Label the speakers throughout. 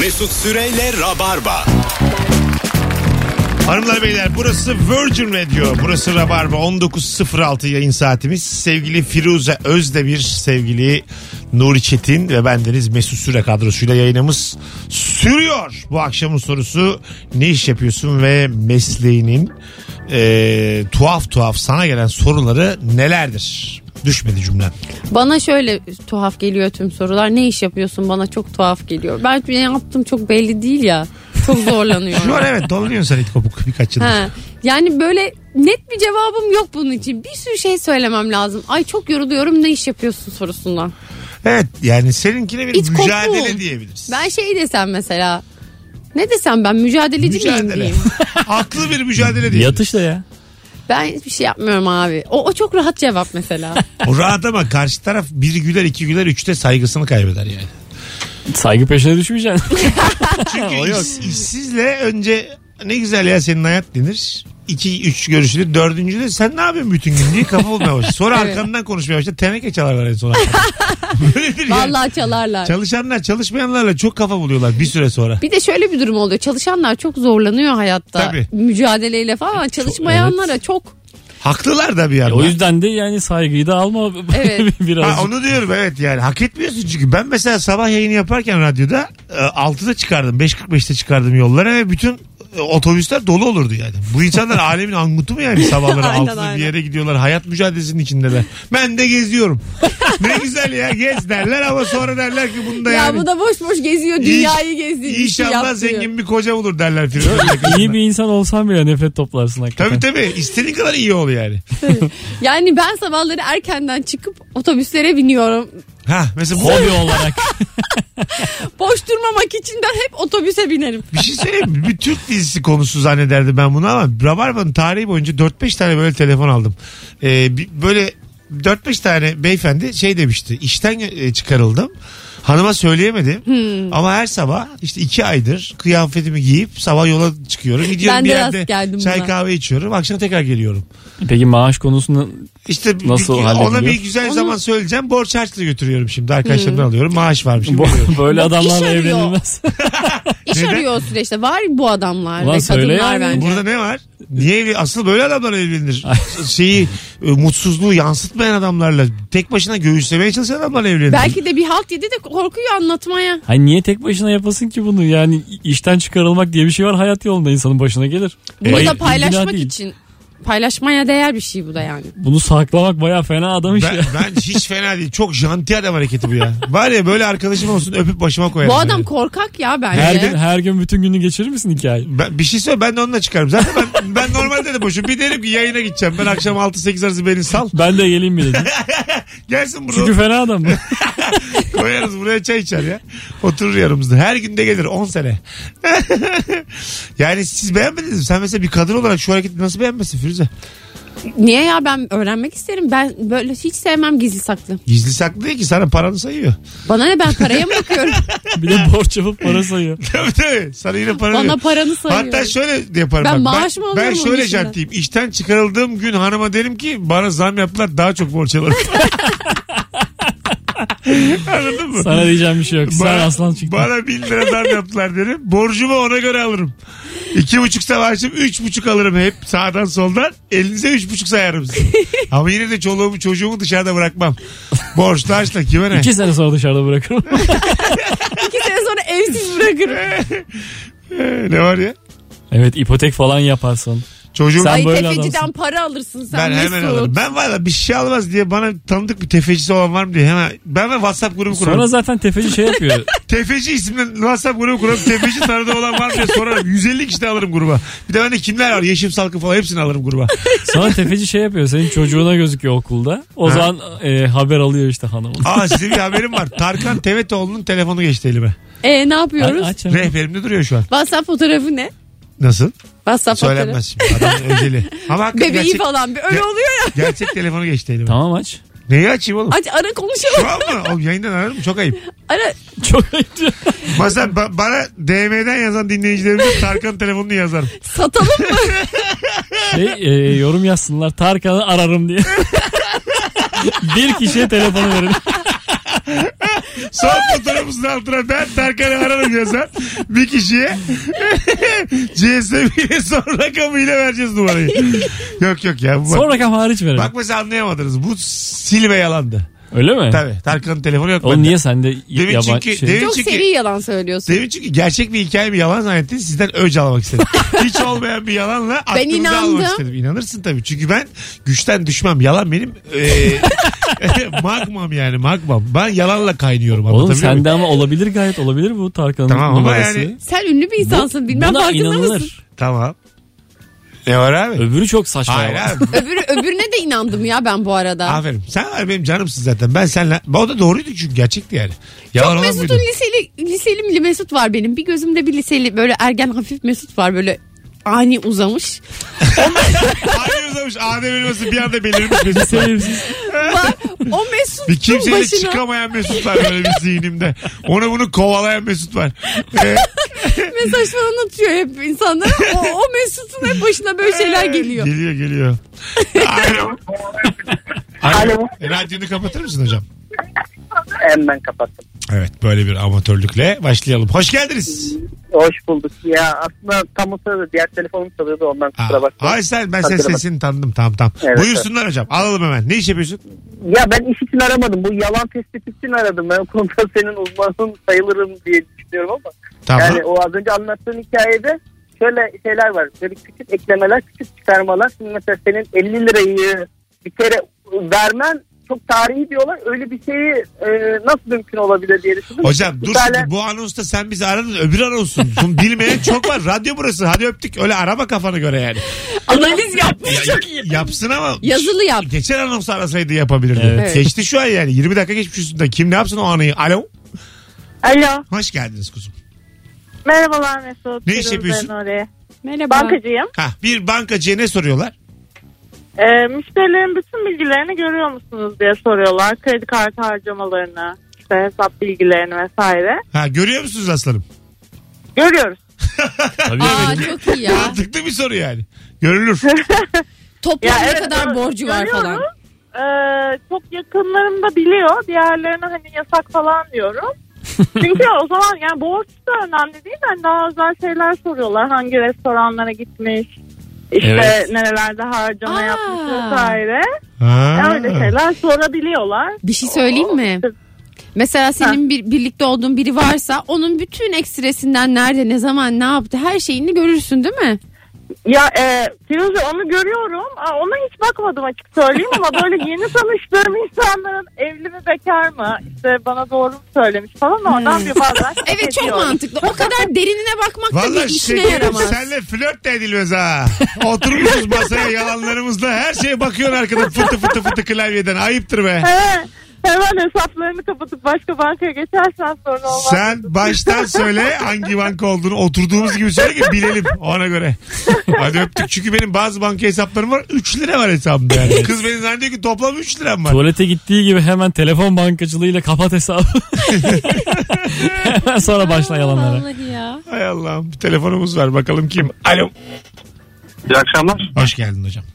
Speaker 1: Mesut Süreyle Rabarba.
Speaker 2: Hanımlar beyler burası Virgin Radio. Burası Rabarba 19.06 yayın saatimiz. Sevgili Firuze Özdemir, sevgili Nuri Çetin ve bendeniz Mesut Süre kadrosuyla yayınımız sürüyor. Bu akşamın sorusu ne iş yapıyorsun ve mesleğinin eee, tuhaf tuhaf sana gelen soruları nelerdir? Düşmedi cümlem.
Speaker 3: Bana şöyle tuhaf geliyor tüm sorular. Ne iş yapıyorsun bana çok tuhaf geliyor. Ben ne yaptım çok belli değil ya. Çok
Speaker 2: Şu an
Speaker 3: zorlanıyorum.
Speaker 2: evet dolanıyorsun sen it kopuk birkaç yıldır.
Speaker 3: ha, yani böyle net bir cevabım yok bunun için. Bir sürü şey söylemem lazım. Ay çok yoruluyorum ne iş yapıyorsun sorusundan.
Speaker 2: Evet yani seninkine bir
Speaker 3: İç kopuğum.
Speaker 2: mücadele diyebiliriz.
Speaker 3: Ben şey desem mesela. Ne desem ben mücadeleci miyim
Speaker 2: mücadele.
Speaker 3: diyeyim.
Speaker 2: Aklı bir mücadele diyebiliriz.
Speaker 4: Yatış da ya.
Speaker 3: Ben hiçbir şey yapmıyorum abi. O, o çok rahat cevap mesela.
Speaker 2: O rahat ama karşı taraf bir güler iki güler üçte saygısını kaybeder yani.
Speaker 4: Saygı peşine düşmeyeceksin.
Speaker 2: Çünkü iş- işsizle önce ne güzel ya senin hayat denir. İki üç görüşülür. Dördüncü de sen ne yapıyorsun bütün gün diye kafa bulmaya başlar. Sonra
Speaker 3: Evet.
Speaker 2: arkandan konuşmaya başlar. Teneke çalarlar en son. arkadan. Böyledir yani.
Speaker 3: Vallahi çalarlar.
Speaker 2: Çalışanlar çalışmayanlarla çok kafa buluyorlar bir süre sonra.
Speaker 3: Bir de şöyle bir durum oluyor. Çalışanlar çok zorlanıyor hayatta.
Speaker 2: Tabii.
Speaker 3: Mücadeleyle falan. Çalışmayanlara çok.
Speaker 2: Haklılar da bir
Speaker 4: E,
Speaker 2: yandan.
Speaker 4: o yüzden de yani saygıyı da alma
Speaker 3: Evet.
Speaker 4: biraz.
Speaker 2: Ha, onu diyorum evet yani hak etmiyorsun çünkü ben mesela sabah yayını yaparken radyoda e, 6'da çıkardım 5.45'te çıkardım yollara ve bütün e, otobüsler dolu olurdu yani. Bu insanlar alemin angutu mu yani sabahları
Speaker 3: Aynen,
Speaker 2: 6'da
Speaker 3: aynen.
Speaker 2: bir yere gidiyorlar hayat mücadelesinin içindeler. Ben de geziyorum. ne güzel ya gez derler ama sonra derler ki bunda
Speaker 3: Ya
Speaker 2: yani.
Speaker 3: bu da boş boş geziyor. Dünyayı gezdi. bir şey
Speaker 2: İnşallah
Speaker 3: yapmıyor.
Speaker 2: zengin bir koca bulur derler filan.
Speaker 4: İyi bir insan olsan bile nefret toplarsın
Speaker 2: tabii
Speaker 4: hakikaten.
Speaker 2: tabii istediğin kadar iyi ol yani.
Speaker 3: Yani ben sabahları erkenden çıkıp otobüslere biniyorum.
Speaker 2: Ha mesela bu
Speaker 4: Hobi olarak.
Speaker 3: Boş durmamak için de hep otobüse binerim.
Speaker 2: Bir şey söyleyeyim mi? Bir Türk dizisi konusu zannederdim ben bunu ama Rabarba'nın tarihi boyunca 4-5 tane böyle telefon aldım. Ee, bi- böyle 4-5 tane beyefendi şey demişti. İşten e, çıkarıldım. Hanıma söyleyemedim.
Speaker 3: Hmm.
Speaker 2: Ama her sabah işte iki aydır kıyafetimi giyip sabah yola çıkıyorum. Gidiyorum
Speaker 3: Ben
Speaker 2: bir
Speaker 3: de rast
Speaker 2: yerde
Speaker 3: geldim
Speaker 2: çay
Speaker 3: buna.
Speaker 2: kahve içiyorum. Akşam tekrar geliyorum.
Speaker 4: Peki maaş konusunda
Speaker 2: İşte bir-
Speaker 4: Nasıl
Speaker 2: bir- ona
Speaker 4: hallediliyor?
Speaker 2: bir güzel
Speaker 3: Onu- Hmm.
Speaker 2: zaman söyleyeceğim. Borç harçla götürüyorum şimdi. Arkadaşlarımdan alıyorum. Maaş varmış. gibi veriyorum.
Speaker 4: böyle
Speaker 3: Bak, iş
Speaker 4: adamlarla
Speaker 3: arıyor.
Speaker 4: evlenilmez.
Speaker 3: İş
Speaker 2: Neden?
Speaker 3: arıyor o süreçte. Var bu adamlar
Speaker 4: Ulan
Speaker 3: ve
Speaker 4: söyle
Speaker 3: kadınlar
Speaker 4: yani.
Speaker 3: bence.
Speaker 2: Burada ne var? Niye evli? Asıl böyle adamlar evlenir. Şeyi e, mutsuzluğu yansıtmayan adamlarla tek başına göğüslemeye çalışan adamlar evlenir.
Speaker 3: Belki de bir halt yedi de korkuyor anlatmaya.
Speaker 4: Hani niye tek başına yapasın ki bunu? Yani işten çıkarılmak diye bir şey var hayat yolunda insanın başına gelir.
Speaker 3: Bunu
Speaker 4: Hayır,
Speaker 3: da
Speaker 4: bir günah
Speaker 3: paylaşmak
Speaker 4: değil.
Speaker 3: için. Paylaşmaya değer bir şey bu da yani.
Speaker 4: Bunu saklamak baya fena adam işi.
Speaker 2: ben,
Speaker 3: şey.
Speaker 2: ben hiç fena değil. Çok janti adam hareketi bu ya. Var ya böyle arkadaşım olsun öpüp başıma koyarım.
Speaker 3: Bu adam
Speaker 2: böyle.
Speaker 3: korkak ya bence.
Speaker 4: Her gün, her gün bütün günü geçirir misin hikaye?
Speaker 2: Ben, bir şey söyle ben de onunla çıkarım. Zaten ben, ben normalde de boşum. Bir derim ki yayına gideceğim. Ben akşam 6-8 arası beni sal.
Speaker 4: Ben de geleyim mi dedim.
Speaker 2: Gelsin buraya.
Speaker 4: Çünkü fena adam bu.
Speaker 2: Koyarız buraya çay içer ya. Oturur yanımızda. Her gün de gelir 10 sene. yani siz beğenmediniz mi? Sen mesela bir kadın olarak şu hareketi nasıl beğenmesin Firuze?
Speaker 3: Niye ya ben öğrenmek isterim. Ben böyle hiç sevmem gizli saklı.
Speaker 2: Gizli saklı değil ki sana paranı sayıyor.
Speaker 3: Bana ne ben paraya mı bakıyorum?
Speaker 4: Bir de borç yapıp para sayıyor.
Speaker 2: tabii tabii sana yine para
Speaker 3: Bana
Speaker 2: veriyor.
Speaker 3: paranı sayıyor.
Speaker 2: Hatta şöyle de yaparım.
Speaker 3: Ben
Speaker 2: bak.
Speaker 3: maaş mı alıyorum
Speaker 2: Ben
Speaker 3: onun
Speaker 2: şöyle
Speaker 3: dışında?
Speaker 2: jantiyim. İşten çıkarıldığım gün hanıma derim ki bana zam yaptılar daha çok borç alırım. Anladın mı?
Speaker 4: Sana diyeceğim bir şey yok. Sen aslan çıktın.
Speaker 2: Bana bin lira zam yaptılar derim. Borcumu ona göre alırım. İki buçuksa maaşım üç buçuk alırım hep sağdan soldan. Elinize üç buçuk sayarım size. Ama yine de çoluğumu çocuğumu dışarıda bırakmam. Borçlu harçla kime ne?
Speaker 4: İki sene sonra dışarıda bırakırım.
Speaker 3: İki sene sonra evsiz bırakırım.
Speaker 2: Ee, ne var ya?
Speaker 4: evet ipotek falan yaparsın.
Speaker 2: Çocuğum
Speaker 4: Sen
Speaker 3: Ay
Speaker 4: böyle
Speaker 3: tefeciden
Speaker 4: adamsın.
Speaker 3: para alırsın sen.
Speaker 2: Ben hemen
Speaker 3: Mesut.
Speaker 2: alırım. Ben valla bir şey almaz diye bana tanıdık bir tefecisi olan var mı diye hemen ben de WhatsApp grubu kurarım.
Speaker 4: Sonra zaten tefeci şey yapıyor.
Speaker 2: Tefeci isminden WhatsApp grubu kurarım. Tefeci tanıdığı olan var mı diye sorarım. 150 kişi de alırım gruba. Bir de bende kimler var? Yeşim Salkı falan hepsini alırım gruba.
Speaker 4: Sonra tefeci şey yapıyor. Senin çocuğuna gözüküyor okulda. O
Speaker 2: Ha.
Speaker 4: zaman e, haber alıyor işte hanımın.
Speaker 2: Aa size bir haberim var. Tarkan Tevetoğlu'nun telefonu geçti elime.
Speaker 3: E ne yapıyoruz?
Speaker 4: A- aç hemen.
Speaker 2: Rehberimde duruyor şu an.
Speaker 3: WhatsApp fotoğrafı ne?
Speaker 2: Nasıl?
Speaker 3: WhatsApp fotoğrafı.
Speaker 2: Söylenmez şimdi. Adamın özeli. Ama hakikaten
Speaker 3: Bebeği
Speaker 2: gerçek,
Speaker 3: falan bir öyle
Speaker 2: Ya-
Speaker 3: oluyor ya.
Speaker 2: gerçek telefonu geçti elime.
Speaker 4: Tamam aç.
Speaker 2: Neyi açayım oğlum?
Speaker 3: Aç ara konuşalım.
Speaker 2: Şu an mı? Oğlum yayından ararım çok ayıp.
Speaker 3: Ara
Speaker 4: Çok acı.
Speaker 2: Mesela ba- bana DM'den yazan dinleyicilerimiz Tarkan telefonunu yazarım.
Speaker 3: satalım mı?
Speaker 4: Şey, e, yorum yazsınlar. Tarkan'ı ararım diye. bir kişiye telefonu verin.
Speaker 2: Son fotoğrafımızın altına ben Tarkan'ı ararım yazar. Bir kişiye CSM ile son rakamıyla vereceğiz numarayı. yok yok ya. Bu bak,
Speaker 4: Son rakam hariç verelim.
Speaker 2: bak mesela anlayamadınız. Bu silme yalandı.
Speaker 4: Öyle mi?
Speaker 2: Tabii Tarkan'ın telefonu yok.
Speaker 4: Oğlum
Speaker 2: bende.
Speaker 4: niye sende
Speaker 2: Demin
Speaker 4: yabancı
Speaker 2: çünkü-
Speaker 4: şey?
Speaker 2: demin-
Speaker 3: Çok
Speaker 2: Çünkü-
Speaker 3: seri yalan söylüyorsun.
Speaker 2: Demin çünkü gerçek bir hikaye mi yalan zannettin sizden öc almak istedim. Hiç olmayan bir yalanla aklınızı
Speaker 3: inandım.
Speaker 2: almak istedim. İnanırsın tabii çünkü ben güçten düşmem. Yalan benim e, magmam yani magmam. Ben yalanla kaynıyorum.
Speaker 4: Oğlum
Speaker 2: anlatabiliyor muyum?
Speaker 4: sende ama olabilir gayet olabilir bu Tarkan'ın
Speaker 2: Tamam ama
Speaker 4: numarası.
Speaker 2: yani-
Speaker 3: Sen ünlü bir insansın bilmem
Speaker 4: Buna
Speaker 3: farkında
Speaker 4: inanılır.
Speaker 3: mısın?
Speaker 2: Tamam. Ne var abi?
Speaker 4: Öbürü çok saçma.
Speaker 2: Hayır
Speaker 4: ama.
Speaker 2: abi.
Speaker 3: Öbürü, öbürüne de inandım ya ben bu arada.
Speaker 2: Aferin. Sen var benim canımsın zaten. Ben senle... O da doğruydu çünkü gerçekti yani. Yalan
Speaker 3: Çok
Speaker 2: olan
Speaker 3: Mesut'un
Speaker 2: buydu.
Speaker 3: liseli, liseli Mesut var benim. Bir gözümde bir liseli böyle ergen hafif Mesut var böyle ani uzamış.
Speaker 2: Hayır uzamış. Adem elması bir anda belirmiş Mesut.
Speaker 4: Sevimsiz.
Speaker 3: Var. O Mesut'un
Speaker 2: Bir kimseyle
Speaker 3: başına.
Speaker 2: çıkamayan Mesut var böyle bir zihnimde. Onu bunu kovalayan Mesut var. Ee,
Speaker 3: mesaj falan atıyor hep insanlara. O, o Mesut'un hep başına böyle
Speaker 2: Ee,
Speaker 3: şeyler geliyor.
Speaker 2: Geliyor geliyor. Alo. Alo. E, Radyonu kapatır mısın hocam?
Speaker 5: Hemen kapattım.
Speaker 2: Evet böyle bir amatörlükle başlayalım. Hoş geldiniz.
Speaker 5: Hoş bulduk. Ya aslında tam o sırada diğer telefonum çalıyordu ondan kusura
Speaker 2: Aa,
Speaker 5: bakma.
Speaker 2: ay sen ben senin
Speaker 5: Kusura bakma.
Speaker 2: sesini tanıdım tam tam.
Speaker 5: Evet,
Speaker 2: Buyursunlar hocam alalım hemen. Ne iş yapıyorsun?
Speaker 5: Ya ben iş için aramadım. Bu yalan tespit için aradım. Ben o konuda senin uzmanın sayılırım diye düşünüyorum ama.
Speaker 2: Tamam.
Speaker 5: Yani o az önce anlattığın hikayede şöyle şeyler var. Böyle küçük eklemeler, küçük çıkarmalar. Şimdi mesela senin 50 lirayı bir kere vermen çok tarihi diyorlar. Öyle bir şeyi e, nasıl mümkün olabilir diye düşündüm.
Speaker 2: Hocam
Speaker 5: Bir
Speaker 2: dur
Speaker 5: tane-
Speaker 2: şimdi bu anonsta sen bizi aradın öbür anonsun. Bunu Bilmeyen çok var. Radyo burası. Hadi öptük. Öyle arama kafana göre yani.
Speaker 3: Analiz yapmış çok iyi.
Speaker 2: Yapsın ama.
Speaker 3: Yazılı yap.
Speaker 2: Geçen anons arasaydı yapabilirdi.
Speaker 4: Evet.
Speaker 2: Geçti şu an yani. 20 dakika geçmiş üstünden. Kim ne yapsın o anıyı? Alo.
Speaker 6: Alo.
Speaker 2: Hoş geldiniz kuzum.
Speaker 6: Merhabalar Mesut.
Speaker 2: Ne iş
Speaker 6: Firuz
Speaker 2: yapıyorsun?
Speaker 6: ben Nuri.
Speaker 3: Merhaba.
Speaker 6: Bankacıyım.
Speaker 2: Ha bir bankacıya ne soruyorlar?
Speaker 6: Ee, müşterilerin bütün bilgilerini görüyor musunuz diye soruyorlar. Kredi kartı harcamalarını, işte hesap bilgilerini vesaire.
Speaker 2: Ha görüyor musunuz aslanım?
Speaker 6: Görüyoruz.
Speaker 4: Tabii
Speaker 3: Aa
Speaker 4: evet.
Speaker 3: çok iyi ya.
Speaker 2: Mantıklı bir soru yani. Görülür.
Speaker 3: Toplam ne
Speaker 6: evet,
Speaker 3: kadar
Speaker 6: gör-
Speaker 3: borcu var
Speaker 6: görüyoruz.
Speaker 3: falan.
Speaker 6: Ee, çok yakınlarım da biliyor. Diğerlerine hani yasak falan diyorum. Çünkü o zaman yani borç da önemli değil de hani daha özel şeyler soruyorlar. Hangi restoranlara gitmiş, işte
Speaker 4: Evet.
Speaker 6: nerelerde harcama
Speaker 3: Aa.
Speaker 6: yapmış vesaire.
Speaker 2: Ha.
Speaker 6: Öyle şeyler sorabiliyorlar.
Speaker 3: Bir şey söyleyeyim mi? Mesela senin bir, birlikte olduğun biri varsa onun bütün ekstresinden nerede, ne zaman, ne yaptı her şeyini görürsün değil mi?
Speaker 6: Ya e, Firuze onu görüyorum. Aa, ona hiç bakmadım açık söyleyeyim ama böyle yeni tanıştığım insanların evli mi bekar mı? İşte bana doğru mu söylemiş falan oradan bir bazen.
Speaker 3: Hmm. Evet çok
Speaker 6: ediyorum.
Speaker 3: mantıklı. O kadar derinine bakmak da bir
Speaker 2: Valla
Speaker 3: işine
Speaker 2: şey,
Speaker 3: yaramaz.
Speaker 2: senle flört de edilmez ha. Oturmuşuz masaya yalanlarımızla her şeye bakıyorsun arkada fıtı fıtı fıtı klavyeden. Ayıptır be.
Speaker 6: He, hemen hesaplarını kapatıp başka bankaya geçersen sorun olmaz.
Speaker 2: Sen baştan söyle hangi banka olduğunu oturduğumuz gibi söyle ki bilelim ona göre. Hadi öptük çünkü benim bazı banka hesaplarım var 3 lira var hesabımda yani. Kız beni zannediyor ki toplam 3 liram var.
Speaker 4: Tuvalete gittiği gibi hemen telefon bankacılığıyla kapat hesabı. hemen sonra başla yalanlara.
Speaker 3: Vallahi ya.
Speaker 2: Hay Allah'ım bir telefonumuz var bakalım kim. Alo.
Speaker 7: İyi akşamlar.
Speaker 2: Hoş geldin hocam.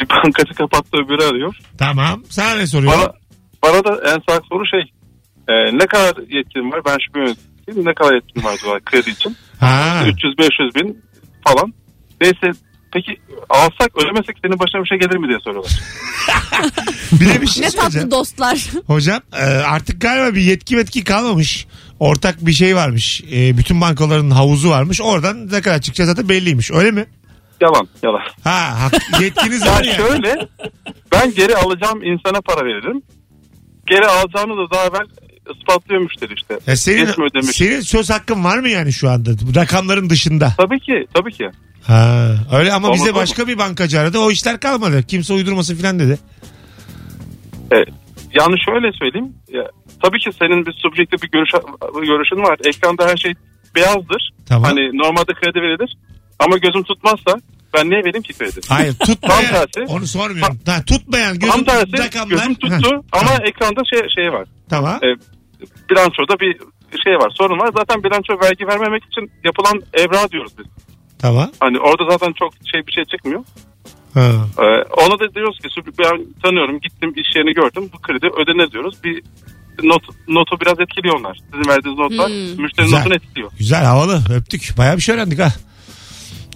Speaker 7: Bir bankacı kapattı öbürü arıyor.
Speaker 2: Tamam sana ne soruyor?
Speaker 7: Bana, bana da en sağ soru şey. e, ne kadar yetkim var? Ben şube yöneticiyim. Ne kadar yetkim var acaba kredi için?
Speaker 2: Ha.
Speaker 7: 300-500 bin falan. Neyse peki alsak ödemesek senin başına bir şey gelir mi diye soruyorlar.
Speaker 2: Bir de bir şey
Speaker 3: Ne
Speaker 2: söyleyeceğim.
Speaker 3: tatlı dostlar.
Speaker 2: Hocam e, artık galiba bir yetki metki kalmamış. Ortak bir şey varmış. E, bütün bankaların havuzu varmış. Oradan ne kadar çıkacağı zaten belliymiş. Öyle mi?
Speaker 7: Yalan yalan.
Speaker 2: Ha, hak- yetkiniz var
Speaker 7: Ya
Speaker 2: ya.
Speaker 7: şöyle ben geri alacağım insana para veririm. Geri alacağını da daha evvel ispatlıyor müşteri işte.
Speaker 2: Ya
Speaker 7: Geç mi
Speaker 2: E, senin,
Speaker 7: ödemiş?
Speaker 2: senin söz hakkın var mı yani şu anda? Bu Rakamların dışında.
Speaker 7: Tabii ki tabii ki.
Speaker 2: Ha, öyle ama
Speaker 7: Olmaz
Speaker 2: bize
Speaker 7: mı?
Speaker 2: başka bir bankacı aradı. O işler kalmadı. Kimse uydurmasın filan dedi.
Speaker 7: E, Yani şöyle söyleyeyim. Ya, tabii ki senin bir subjektif bir görüş, bir görüşün var. Ekranda her şey beyazdır.
Speaker 2: Tamam.
Speaker 7: Hani normalde kredi verilir. Ama gözüm tutmazsa ben niye vereyim ki kredi?
Speaker 2: Hayır tutmayan.
Speaker 7: Tam tersi.
Speaker 2: onu sormuyorum. Ha, tutmayan gözüm,
Speaker 7: Tam tersi
Speaker 2: rakamlar.
Speaker 7: gözüm tuttu
Speaker 2: Ha,
Speaker 7: ama
Speaker 2: tamam.
Speaker 7: ekranda şey, şey var.
Speaker 2: Tamam.
Speaker 7: E, bilançoda bir şey var sorun var. Zaten bilanço vergi vermemek için yapılan evra diyoruz biz.
Speaker 2: Tamam.
Speaker 7: Hani orada zaten çok şey bir şey çıkmıyor.
Speaker 2: Ha.
Speaker 7: Ee, ona da diyoruz ki "Sübük, ben tanıyorum gittim iş yerini gördüm bu kredi ödenir diyoruz. Bir not, notu biraz etkiliyor onlar. Sizin verdiğiniz notlar
Speaker 3: Hmm.
Speaker 7: müşterinin
Speaker 2: Güzel.
Speaker 7: notunu etkiliyor.
Speaker 2: Güzel havalı öptük. Baya bir şey öğrendik ha.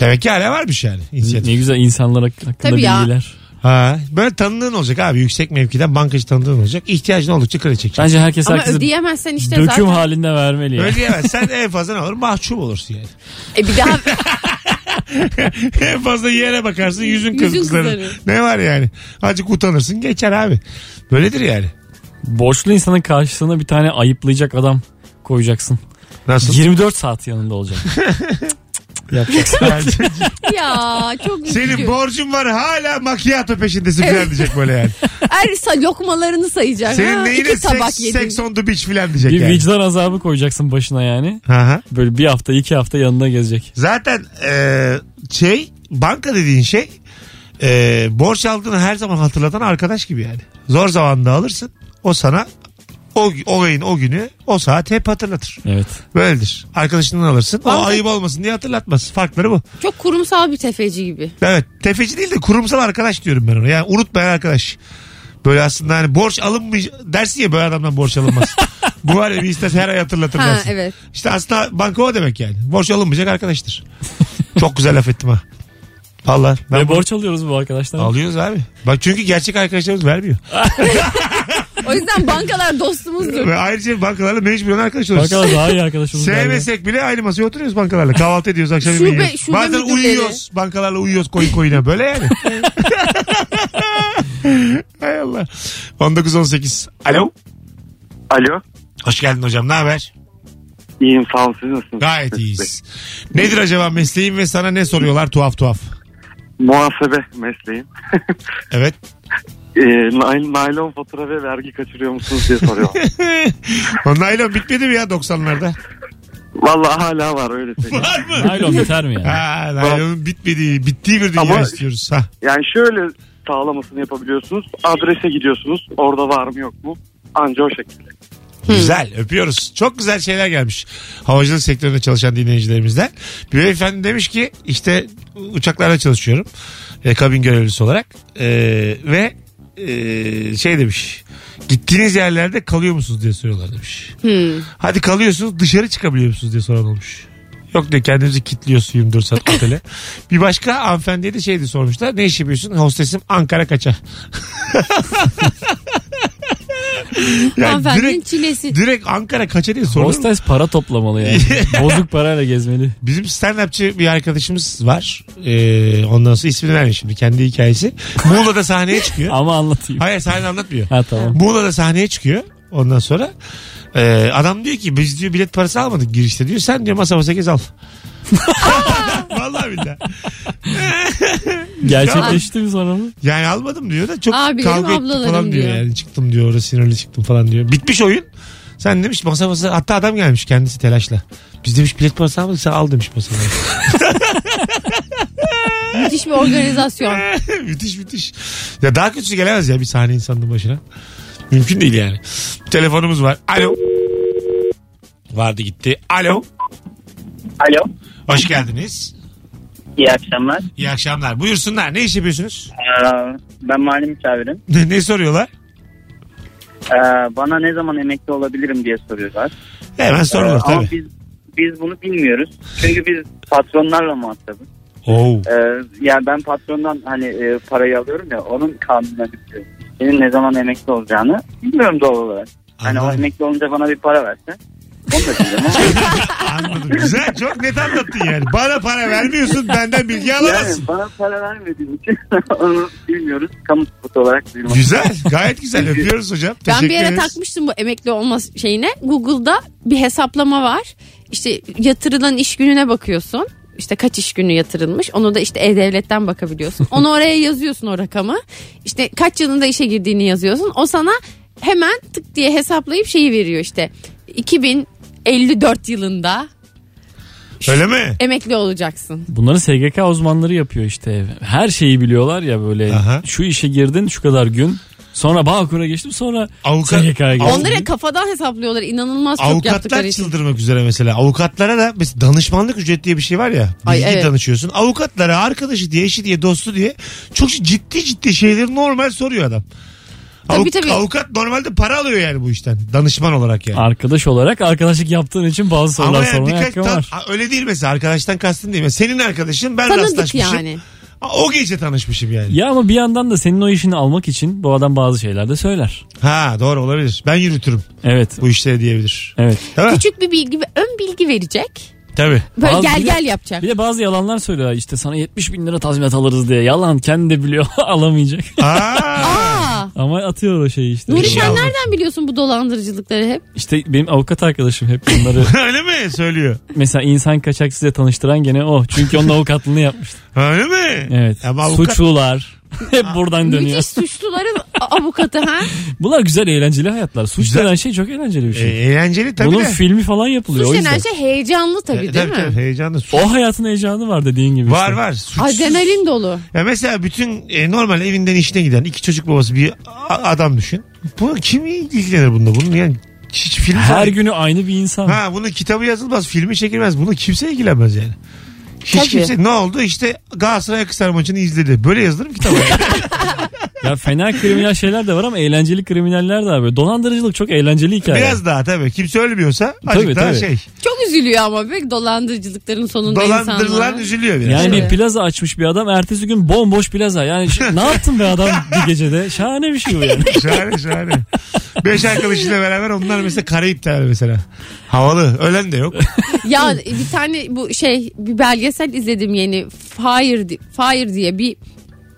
Speaker 2: Demek ki hala varmış yani. inisiyatif.
Speaker 4: Ne güzel insanlar hak- hakkında
Speaker 3: Tabii ya.
Speaker 4: bilgiler.
Speaker 2: Ha, böyle tanıdığın olacak abi. Yüksek mevkiden bankacı tanıdığın olacak. İhtiyacın oldukça kredi çekeceksin.
Speaker 4: Bence herkes
Speaker 3: Ama
Speaker 4: herkese
Speaker 3: ödeyemezsen işte
Speaker 4: döküm
Speaker 3: zaten.
Speaker 4: halinde vermeli ya.
Speaker 2: Öyle diyemez. Sen en fazla ne olur? Mahcup olursun yani.
Speaker 3: E bir daha
Speaker 2: en fazla yere bakarsın yüzün
Speaker 3: Yüzün
Speaker 2: kızarır.
Speaker 3: kızarır.
Speaker 2: Ne var yani? Azıcık utanırsın geçer abi. Böyledir yani.
Speaker 4: Borçlu insanın karşısına bir tane ayıplayacak adam koyacaksın.
Speaker 2: Nasıl?
Speaker 4: 24 saat yanında olacak. Cık, cık, cık, Yapacaksın.
Speaker 3: ya çok üzücü.
Speaker 2: Senin borcun var hala makyato peşindesin falan diyecek böyle yani.
Speaker 3: Her sa- lokmalarını sayacak.
Speaker 2: Senin
Speaker 3: Ha,
Speaker 2: neyine
Speaker 3: iki tabak
Speaker 2: seks,
Speaker 3: yedin.
Speaker 2: seks on the beach falan diyecek
Speaker 4: bir
Speaker 2: yani.
Speaker 4: vicdan azabı koyacaksın başına yani.
Speaker 2: Aha.
Speaker 4: Böyle bir hafta iki hafta yanında gezecek.
Speaker 2: Zaten e, şey banka dediğin şey e, borç aldığını her zaman hatırlatan arkadaş gibi yani. Zor zamanda alırsın o sana o, o ayın o günü o saat hep hatırlatır.
Speaker 4: Evet.
Speaker 2: Böyledir. Arkadaşından alırsın. O
Speaker 3: Banka-
Speaker 2: ayıp olmasın diye hatırlatmaz. Farkları bu.
Speaker 3: Çok kurumsal bir tefeci gibi.
Speaker 2: Evet. Tefeci değil de kurumsal arkadaş diyorum ben ona. Yani unutmayan arkadaş. Böyle aslında hani borç alınmış dersin ya böyle adamdan borç alınmaz. Bu var ya bir istese her ay hatırlatır
Speaker 3: Ha
Speaker 2: dersin.
Speaker 3: evet.
Speaker 2: İşte aslında banka o demek yani. Borç alınmayacak arkadaştır. Çok güzel laf ettim ha. Valla. ben
Speaker 4: Ve
Speaker 2: bunu-
Speaker 4: borç alıyoruz bu arkadaşlar.
Speaker 2: Alıyoruz abi. Bak çünkü gerçek arkadaşlarımız vermiyor.
Speaker 3: O yüzden bankalar dostumuzdur.
Speaker 2: Ve ayrıca bankalarla mecburen arkadaş oluyoruz.
Speaker 4: Arkadaşlar daha iyi arkadaşımız. galiba.
Speaker 2: Sevmesek bile aynı masaya oturuyoruz bankalarla. Kahvaltı ediyoruz akşam
Speaker 3: Şube-
Speaker 2: yemeği yiyoruz.
Speaker 3: şube
Speaker 2: Bazen
Speaker 3: müdürleri.
Speaker 2: uyuyoruz. Bankalarla uyuyoruz koyun koyuna. Böyle yani. Hay Allah. 19-18. Alo.
Speaker 8: Alo.
Speaker 2: Hoş geldin hocam. Ne haber?
Speaker 8: İyiyim sağ olun siz nasılsınız?
Speaker 2: Gayet iyiyiz. Nedir acaba mesleğin ve sana ne soruyorlar tuhaf tuhaf?
Speaker 8: Muhasebe mesleğim.
Speaker 2: Evet.
Speaker 8: Ee, nay- naylon fatura ve vergi kaçırıyor musunuz diye soruyorlar.
Speaker 2: o naylon bitmedi mi ya 90'larda?
Speaker 8: Vallahi hala var öyle söyleyeyim.
Speaker 2: Var mı?
Speaker 4: Naylon yeter mi yani?
Speaker 2: Ha, naylonun bitmediği, bittiği bir dünya
Speaker 8: Ama-
Speaker 2: istiyoruz. Ha.
Speaker 8: Yani şöyle sağlamasını yapabiliyorsunuz. Adrese gidiyorsunuz. Orada var mı yok mu? Anca o şekilde.
Speaker 2: Güzel öpüyoruz. Çok güzel şeyler gelmiş. Havacılık sektöründe çalışan dinleyicilerimizden. Bir beyefendi demiş ki işte uçaklarda çalışıyorum. E, kabin görevlisi olarak. E, ve e, şey demiş. Gittiğiniz yerlerde kalıyor musunuz diye soruyorlar demiş.
Speaker 3: Hmm.
Speaker 2: Hadi kalıyorsunuz dışarı çıkabiliyor musunuz diye soran olmuş. Yok diyor kendinizi kilitliyorsun 24 saat otele. bir başka hanımefendiye de şeydi sormuşlar. Ne iş yapıyorsun? Hostesim Ankara kaça. yani
Speaker 3: Hanımefendinin
Speaker 2: direkt,
Speaker 3: çilesi.
Speaker 2: direkt Ankara kaça diye sorulur mu?
Speaker 4: Hostes para toplamalı yani. Bozuk parayla gezmeli.
Speaker 2: Bizim stand-upçı bir arkadaşımız var. Ee, ondan sonra ismini vermeyeyim şimdi kendi hikayesi. Muğla'da sahneye çıkıyor.
Speaker 4: Ama anlatayım.
Speaker 2: Hayır sahne anlatmıyor.
Speaker 4: Ha tamam.
Speaker 2: Muğla'da sahneye çıkıyor. Ondan sonra e, adam diyor ki biz diyor bilet parası almadık girişte diyor. Sen diyor masa masa gez al. Vallahi billahi.
Speaker 4: Gerçekleşti mi sonra mı?
Speaker 2: Yani almadım diyor da çok
Speaker 3: Abilerim,
Speaker 2: kavga ettik
Speaker 3: ablalarım
Speaker 2: falan diyor.
Speaker 3: diyor.
Speaker 2: Yani çıktım diyor orada sinirli çıktım falan diyor. Bitmiş oyun. Sen demiş masa masa hatta adam gelmiş kendisi telaşla. Biz demiş bilet parası almadık sen al demiş masa masa.
Speaker 3: Müthiş bir organizasyon.
Speaker 2: müthiş müthiş. Ya daha kötüsü gelemez ya bir sahne insanın başına. Mümkün değil yani. Telefonumuz var. Alo. Vardı gitti. Alo.
Speaker 5: Alo.
Speaker 2: Hoş geldiniz.
Speaker 5: İyi akşamlar.
Speaker 2: İyi akşamlar. Buyursunlar. Ne iş yapıyorsunuz?
Speaker 5: Ee, ben mali müşavirim.
Speaker 2: Ne, ne soruyorlar?
Speaker 5: Ee, bana ne zaman emekli olabilirim diye soruyorlar.
Speaker 2: Hemen sorulur
Speaker 5: Ee, ama
Speaker 2: tabii.
Speaker 5: biz biz bunu bilmiyoruz. Çünkü biz patronlarla muhatabız.
Speaker 2: Oo.
Speaker 5: Ee, yani ben patrondan hani e, parayı alıyorum ya onun kanununa bitiyor. Senin ne zaman emekli olacağını bilmiyorum doğal olarak. Hani o
Speaker 2: Anladım.
Speaker 5: emekli olunca bana bir para verse. Onu da bilmiyorum ama
Speaker 2: Anladım. Güzel. Çok net anlattın yani. Bana para vermiyorsun. Benden bilgi
Speaker 5: yani
Speaker 2: alamazsın.
Speaker 5: bana para vermediği için onu bilmiyoruz. Kamu spotu olarak duyurmak.
Speaker 2: Güzel. Gayet güzel. Öpüyoruz hocam.
Speaker 3: Ben bir
Speaker 2: Teşekkür
Speaker 3: yere
Speaker 2: ederiz.
Speaker 3: takmıştım bu emekli olma şeyine. Google'da bir hesaplama var. İşte yatırılan iş gününe bakıyorsun. İşte kaç iş günü yatırılmış. Onu da işte e-devletten bakabiliyorsun. Onu oraya yazıyorsun o rakamı. İşte kaç yılında işe girdiğini yazıyorsun. O sana hemen tık diye hesaplayıp şeyi veriyor işte. 2054 yılında
Speaker 2: Öyle mi?
Speaker 3: emekli olacaksın.
Speaker 4: Bunları SGK uzmanları yapıyor işte. Her şeyi biliyorlar ya böyle.
Speaker 2: Aha.
Speaker 4: Şu işe girdin şu kadar gün. Sonra Bağkur'a geçtim sonra
Speaker 2: Avukat-
Speaker 4: SGK'ya geçtim.
Speaker 3: Onları kafadan hesaplıyorlar. inanılmaz çok
Speaker 2: Avukatlar
Speaker 3: yaptıkları için.
Speaker 2: çıldırmak üzere mesela. Avukatlara da mesela danışmanlık ücret diye bir şey var ya. Bilgi
Speaker 3: Ay, evet.
Speaker 2: danışıyorsun. Avukatlara arkadaşı diye, eşi diye, dostu diye çok ciddi ciddi şeyleri normal soruyor adam.
Speaker 3: Tabii,
Speaker 2: Avuk-
Speaker 3: tabii.
Speaker 2: Avukat normalde para alıyor yani bu işten. Danışman olarak yani.
Speaker 4: Arkadaş olarak arkadaşlık yaptığın için bazı sorular
Speaker 2: Ama yani
Speaker 4: sormaya
Speaker 2: birkaç
Speaker 4: hakkım
Speaker 2: tan-
Speaker 4: var.
Speaker 2: Ha, öyle değil mesela arkadaştan kastın değil. mi? Senin arkadaşın ben
Speaker 3: Tanıdık
Speaker 2: rastlaşmışım.
Speaker 3: yani.
Speaker 2: Ha, O gece tanışmışım yani.
Speaker 4: Ya ama bir yandan da senin o işini almak için bu adam bazı şeyler de söyler.
Speaker 2: Ha doğru olabilir. Ben yürütürüm
Speaker 4: Evet.
Speaker 2: bu işleri diyebilir.
Speaker 4: Evet.
Speaker 2: Değil mi?
Speaker 3: Küçük bir bilgi, ön bilgi verecek.
Speaker 2: Tabii.
Speaker 3: Böyle
Speaker 4: Bazı-
Speaker 3: gel
Speaker 4: bir de-
Speaker 3: gel yapacak.
Speaker 4: Bir de bazı yalanlar söylüyor işte sana 70 bin lira tazminat alırız diye. Yalan kendi de biliyor alamayacak.
Speaker 2: Aa,
Speaker 3: Aa,
Speaker 4: Ama atıyor o şeyi işte.
Speaker 3: Nuri sen
Speaker 2: Bravo.
Speaker 3: nereden biliyorsun bu dolandırıcılıkları hep?
Speaker 4: İşte benim avukat arkadaşım hep bunları
Speaker 2: öyle mi söylüyor?
Speaker 4: mesela insan kaçak size tanıştıran gene o. Çünkü onun avukatlığını yapmıştı.
Speaker 2: Öyle mi?
Speaker 4: Evet.
Speaker 2: Ama avukat-
Speaker 4: Suçlular. Hep buradan dönüyor.
Speaker 3: Müthiş suçluların a- avukatı ha.
Speaker 4: Bunlar güzel eğlenceli hayatlar. Suç
Speaker 2: Güzel.
Speaker 4: denen şey çok eğlenceli
Speaker 2: E,
Speaker 4: bir şey.
Speaker 2: eğlenceli tabii
Speaker 4: Bunun
Speaker 2: de.
Speaker 4: filmi falan yapılıyor
Speaker 3: Suç
Speaker 4: o yüzden.
Speaker 3: denen şey heyecanlı tabii
Speaker 2: E,
Speaker 3: değil mi?
Speaker 2: tabii, heyecanlı. Su-
Speaker 4: O hayatın heyecanı var dediğin gibi.
Speaker 2: Var
Speaker 4: işte.
Speaker 2: var. Suçsuz.
Speaker 3: Adrenalin dolu.
Speaker 2: Ya mesela bütün e, normal evinden işine giden iki çocuk babası bir a- adam düşün. Bu kim ilgilenir bunda? Bunun yani hiç film
Speaker 4: Her
Speaker 2: falan-
Speaker 4: günü aynı bir insan.
Speaker 2: Ha bunun kitabı yazılmaz, filmi çekilmez. Bunu kimse ilgilenmez yani. Hiç
Speaker 3: Tabii.
Speaker 2: kimse ne oldu işte Galatasaray Akhisar maçını izledi. Böyle yazılır kitap.
Speaker 4: Ya fena kriminal şeyler de var ama eğlenceli krimineller de var. Böyle dolandırıcılık çok eğlenceli hikaye.
Speaker 2: Biraz daha tabii. Kimse ölmüyorsa azıcık
Speaker 4: Tabii,
Speaker 2: daha
Speaker 4: tabii.
Speaker 2: şey.
Speaker 3: Çok üzülüyor ama pek dolandırıcılıkların sonunda
Speaker 2: Dolandırılan
Speaker 3: insanlar.
Speaker 2: üzülüyor biraz.
Speaker 4: Yani bir
Speaker 3: Evet.
Speaker 4: plaza açmış bir adam. Ertesi gün bomboş plaza. Yani şi- ne yaptın be adam bir gecede? Şahane bir şey bu yani.
Speaker 2: Şahane şahane. Beş arkadaşıyla beraber onlar mesela Karayipler mesela. Havalı. Ölen de yok.
Speaker 3: Ya bir tane bu şey bir belgesel izledim yeni Fire di- Fire diye bir